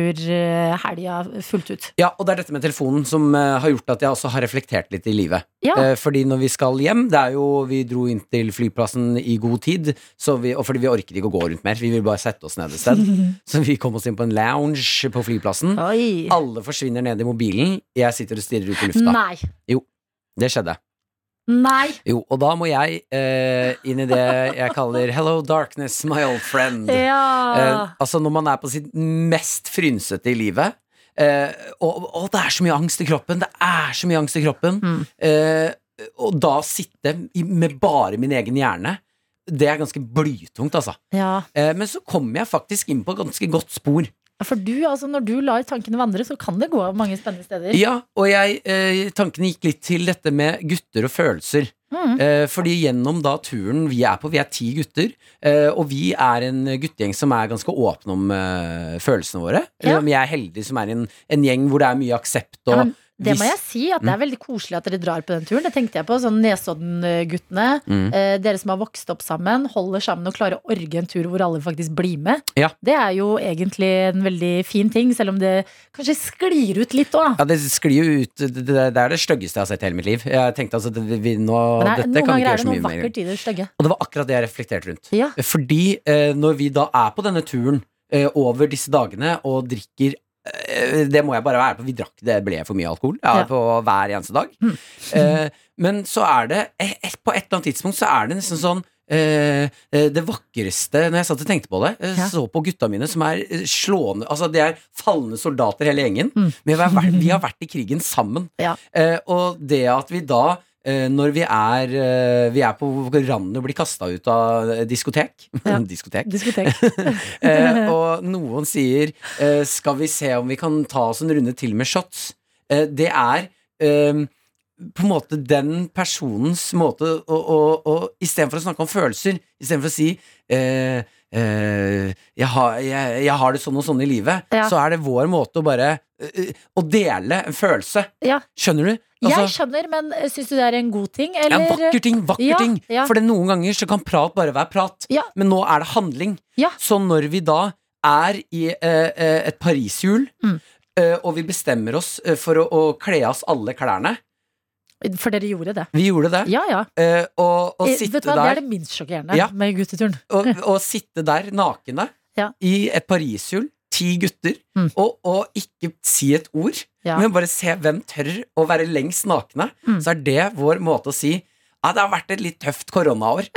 guttetur-helga fullt ut. Ja, og det er dette med telefonen som eh, har gjort at jeg også har reflektert litt i livet. Ja. Eh, fordi når vi skal hjem, det er jo vi dro inn til flyplassen i god tid, så vi, og fordi vi orket ikke å gå rundt mer, vi ville bare sette oss ned et sted. så vi kom oss inn på en lounge på flyplassen. Oi. Alle forsvinner ned i mobilen, jeg sitter og stirrer ut i lufta. Nei. Det skjedde. Nei. Jo, og da må jeg eh, inn i det jeg kaller 'hello darkness, my old friend'. Eh, Ja. altså når man er på sitt mest frynsete i livet eh, og, og det er så mye angst i kroppen Det er så mye angst i kroppen Mm. eh, Og da sitte i, med bare min egen hjerne det er ganske blytungt, altså. Ja. Eh, men så kom jeg faktisk inn på ganske godt spor. For du, altså, når du lar tankene vandre, så kan det gå mange spennende steder. Ja, og jeg, eh, tankene gikk litt til dette med gutter og følelser. Mm. Eh, fordi gjennom da turen vi er på, vi er ti gutter, eh, og vi er en guttegjeng som er ganske åpne om eh, følelsene våre. Ja. Eller om jeg er heldig som er en, en gjeng hvor det er mye aksept og Ja, men Det må hvis- Mm. jeg si, at det er veldig koselig at dere drar på den turen. Det tenkte jeg på. Sånn Nesodden-guttene. Mm. Eh, dere som har vokst opp sammen, holder sammen og klarer å orge en tur hvor alle faktisk blir med. Ja. Det er jo egentlig en veldig fin ting, selv om det kanskje sklir ut litt òg. Ja, det sklir jo ut Det, det, det er det styggeste jeg har sett i hele mitt liv. Jeg tenkte altså, det, vi, nå, Men det er- dette noen kan ganger vi ikke er gjøre det så noe mye mer. vakkert i det stygge. Og det var akkurat det jeg reflekterte rundt. Ja. Fordi eh, når vi da er på denne turen eh, over disse dagene og drikker eh, det må jeg bare være på. Vi drakk det ble for mye alkohol ja, Ja. Mm. på hver eneste dag. Eh, men så er det eh, et, På et eller annet tidspunkt så er det nesten sånn eh, eh, det vakreste Når jeg satt og tenkte på det, eh, Ja. så på gutta mine som er eh, slående Altså, de er falne soldater hele gjengen. Mm. Men vi har vært, vi har vært i krigen sammen. Ja. Eh, og det at vi da eh, når vi er, eh, vi er på randen og blir kasta ut av eh, diskotek, Ja. diskotek. Diskotek. Eh, og noen sier eh, 'skal vi se om vi kan ta oss en runde til med shots', eh, det er eh, på en måte den personens måte å, å, å Istedenfor å snakke om følelser, istedenfor å si eh, eh, jeg, har, jeg, 'jeg har det sånn og sånn i livet', Ja. så er det vår måte å bare eh, Å dele en følelse. Ja. Skjønner du? Altså, Jeg skjønner, men eh, syns du det er en god ting, Ja, eller? vakker ting, vakker Ja, ting. ja. For det noen ganger så kan prat bare være prat, Ja. men nå er det handling. Ja. Så når vi da er i eh, eh, et pariserhjul, Mm. eh, og vi bestemmer oss eh, for å, å kle av oss alle klærne For dere gjorde det. Vi gjorde det. Ja, ja. eh, og, og, Eh, sitte Vet du hva, Det er der, det minst sjokkerende Ja. med gutteturen. og, og sitte der nakne Ja. i et pariserhjul, ti gutter, Mm. og, og ikke si et ord, Ja. men bare se hvem tør å være lengst nakne, Mm. så er det vår måte å si ja, det har vært et litt tøft koronaår.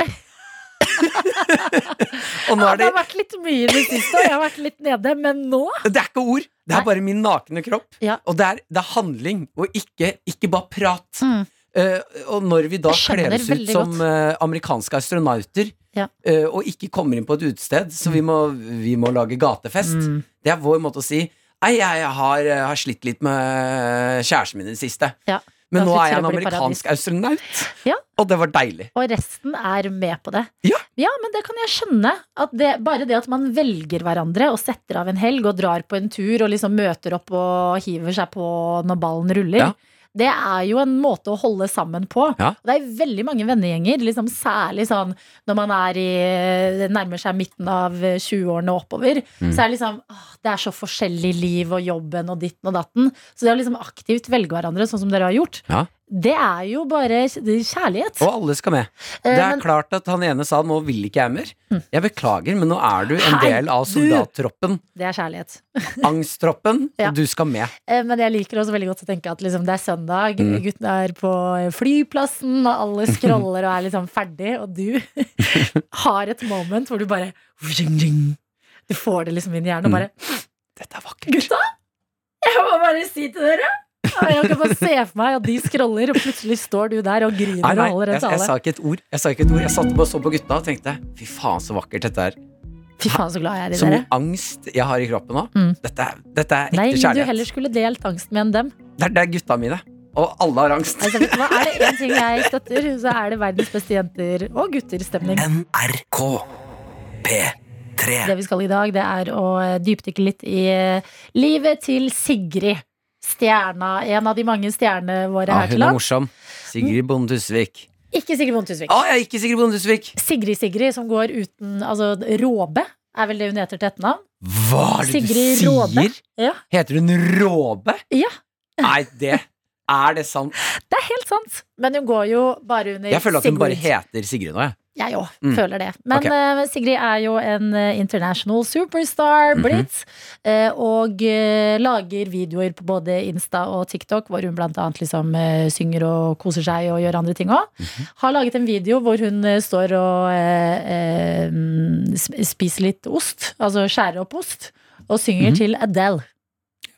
og nå Ja, er det det har vært litt mye i det siste, og jeg har vært litt nede, men nå Det er ikke ord, det Nei. er bare min nakne kropp. Ja. Og det er, det er handling, og ikke, ikke bare prat. Mm. Eh, og når vi da Jeg skjønner kler oss ut veldig som godt. eh, amerikanske astronauter, Ja. eh, og ikke kommer inn på et utested, så vi må, vi må lage gatefest, Mm. det er vår måte å si Nei, jeg har, eh, har slitt litt med kjæresten min i det siste. Ja. Da Men nå slutter er jeg det en å bli amerikansk astronaut, Ja. og det var deilig. Og resten er med på det. Ja. men det kan jeg skjønne. At det, bare det at man velger hverandre og setter av en helg og drar på en tur og liksom møter opp og hiver seg på når ballen ruller. Ja. Det er jo en måte å holde sammen på. Ja. Og det er veldig mange vennegjenger, liksom særlig sånn når man er i, nærmer seg midten av 20-årene og oppover. Mm. Så er det liksom åh, Det er så forskjellig liv og jobben og ditten og datten. Så det å liksom aktivt velge hverandre, sånn som dere har gjort, Ja. det er jo bare kjærlighet. Og alle skal med. Det Eh, er men- Mm. klart at han ene sa 'nå vil ikke jeg mer'. Jeg beklager, men nå er du en Hei, del av du! soldattroppen. Det er kjærlighet. Angsttroppen, Ja. og du skal med. Eh, Men jeg liker også veldig godt å tenke at liksom, det er søndag, Mm. guttene er på flyplassen, og alle scroller og er liksom ferdig, og du har et moment hvor du bare Du får det liksom inn i hjernen Mm. og bare Dette er vakkert. Gutta! Jeg må bare si til dere! Og Jeg kan bare se for meg at de scroller, og plutselig står du der og griner Nei, og nei, holder en jeg, jeg tale. sa ikke et ord. Jeg sa ikke et ord Jeg satt bare og så på gutta og tenkte fy faen, så vakkert dette er. Fy faen, så glad jeg er i Så mye dere. angst jeg har i kroppen nå. Mm. Dette, er- dette er ekte Nei, du kjærlighet. heller skulle delt angsten med enn dem. Det, er, det er gutta mine. Og alle har angst. Altså, vet du hva? Er det én ting jeg støtter, så er det verdens beste jenter- og gutter-stemning. NRK P3. Det vi skal i dag, det er å eh, dypdykke litt i eh, livet til Sigrid. Stjerna, en av de mange stjernene våre Ja, her til Ah, hun er lands. morsom. Sigrid Bonde Tusvik. Ikke Sigrid Bonde Tusvik. Å, jeg er ikke Sigrid Bonde Tusvik! Sigrid Sigrid, som går uten Altså Råbe, er vel det hun heter til etternavn? Hva er det Sigrid du Råbe. sier? Ja. Heter hun Råbe? Ja. Nei, det er det sant? Det er helt sant! Men hun går jo bare under Jeg føler at hun bare Sigrid. heter Sigrid nå, jeg. Jeg òg Mm. føler det. Men Ok. eh, Sigrid er jo en eh, international superstar Mhm. blitt. eh, og eh, lager videoer på både Insta og TikTok, hvor hun blant annet liksom, eh, synger og koser seg og gjør andre ting òg. Har laget en video hvor hun eh, står og eh, eh, sp- spiser litt ost. Altså skjærer opp ost. Og synger til Adele.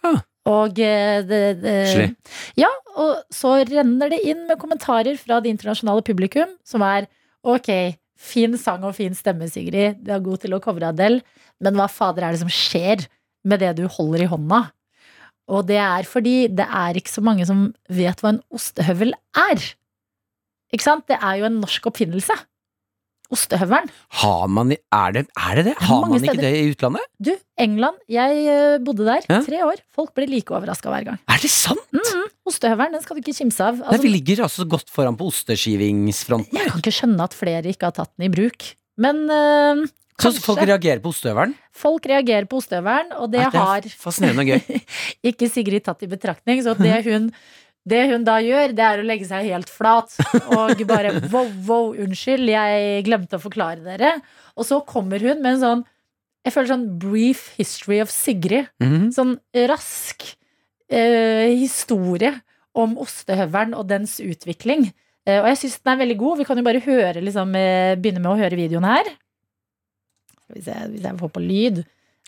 Mhm. Ja. Og eh, det, det, Koselig. ja, og så renner det inn med kommentarer fra det internasjonale publikum, som er ok, Fin sang og fin stemme, Sigrid. Du er god til å covre Adele. Men hva fader er det som skjer med det du holder i hånda? Og det er fordi det er ikke så mange som vet hva en ostehøvel er. Ikke sant? Det er jo en norsk oppfinnelse. Ostehøvelen. Har man i- Er det er det? det? er Har mange man ikke steder. det i utlandet? Du, England. Jeg eh, bodde der Ja. tre år. Folk blir like overraska hver gang. Er det sant? Ostehøvelen, den skal du ikke kimse av. Nei, Altså, vi ligger altså godt foran på osteskivingsfronten. jeg kan ikke skjønne at flere ikke har tatt den i bruk. Men eh, Sånn som folk kanskje. reagerer på ostehøvelen? folk reagerer på ostehøvelen, og det Er har Fascinerende og gøy. ikke Sigrid tatt i betraktning. Så det hun, det hun da gjør, det er å legge seg helt flat og bare wow, wow, unnskyld, jeg glemte å forklare dere. Og så kommer hun med en sånn jeg føler sånn brief history of Sigrid. Mhm. Sånn rask eh, historie om ostehøvelen og dens utvikling. Eh, og jeg syns den er veldig god. Vi kan jo bare høre, liksom, eh, begynne med å høre videoen her. Skal vi se hvis jeg får på lyd.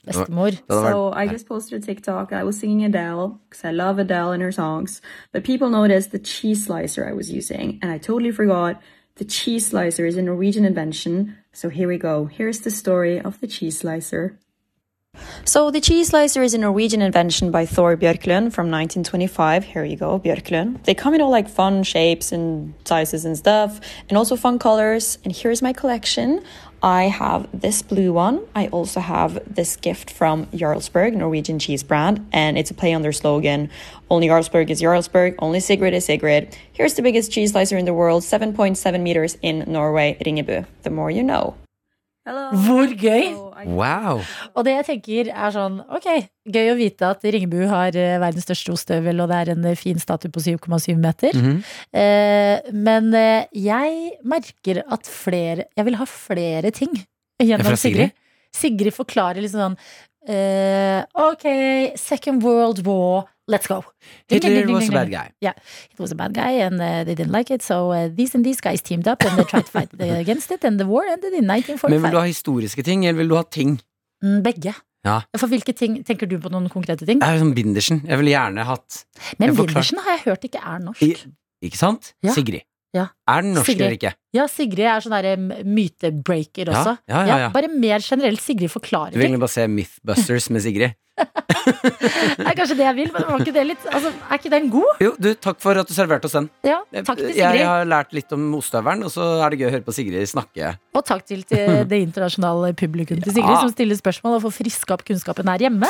Bestemor. Det hadde So vært- I just posted a TikTok. I was singing Adele because I love Adele and her songs, but people noticed the cheese slicer I was using, and I totally forgot the cheese slicer is a Norwegian invention. So here we go. Here's the story of the cheese slicer. So the cheese slicer is a Norwegian invention by Thor Björklund from 1925. Here you go, Björklund. They come in all like fun shapes and sizes and stuff, and also fun colors. And here's my collection. I have this blue one. I also have this gift from Jarlsberg, Norwegian cheese brand, and it's a play on their slogan, only Jarlsberg is Jarlsberg, only Sigrid is Sigrid. Here's the biggest cheese slicer in the world, 7.7 meters in Norway, Ringebu. The more you know. Hello. Hvor gøy! Wow. Og det jeg tenker er sånn, ok, gøy å vite at Ringebu har eh, verdens største ostehøvel, og det er en eh, fin statue på 7,7 meter. Mhm. eh, men eh, jeg merker at flere, jeg vil ha flere ting Ja, fra gjennom Sigrid? Sigrid. Sigrid forklarer liksom sånn, eh, ok, Second World War, let's go. Ding, ding, ding, Hitler ding, was a ding, bad ding. guy. Yeah, it was a bad guy, and uh, they didn't like it, so uh, these and these guys teamed up, and they tried to fight against it, and the war ended in Men vil du 1945. ha historiske ting, eller vil du ha ting? Mm, Begge. Ja. For hvilke ting, Tenker du på noen konkrete ting? Det er jo sånn Bindersen. Jeg ville gjerne hatt Men jeg forklar- Wildersen har jeg hørt ikke er norsk. I, Ikke sant? Ja. Sigrid. Ja. Er den norsk Sigrid. eller ikke? Ja, Sigrid er sånn derre mytebreaker Ja, også. ja, ja, ja. bare mer generelt Sigrid forklarer Du vil ting. egentlig bare se Mythbusters med Sigrid. Det er kanskje det jeg vil, men var ikke det litt Altså, er ikke den god? Jo, du, takk for at du serverte oss den. Ja, takk til Jeg Sigrid. har lært litt om ostehøvelen, og så er det gøy å høre på Sigrid snakke. Og takk til til det internasjonale publikum til Sigrid, Ja. som stiller spørsmål og får friska opp kunnskapen her hjemme.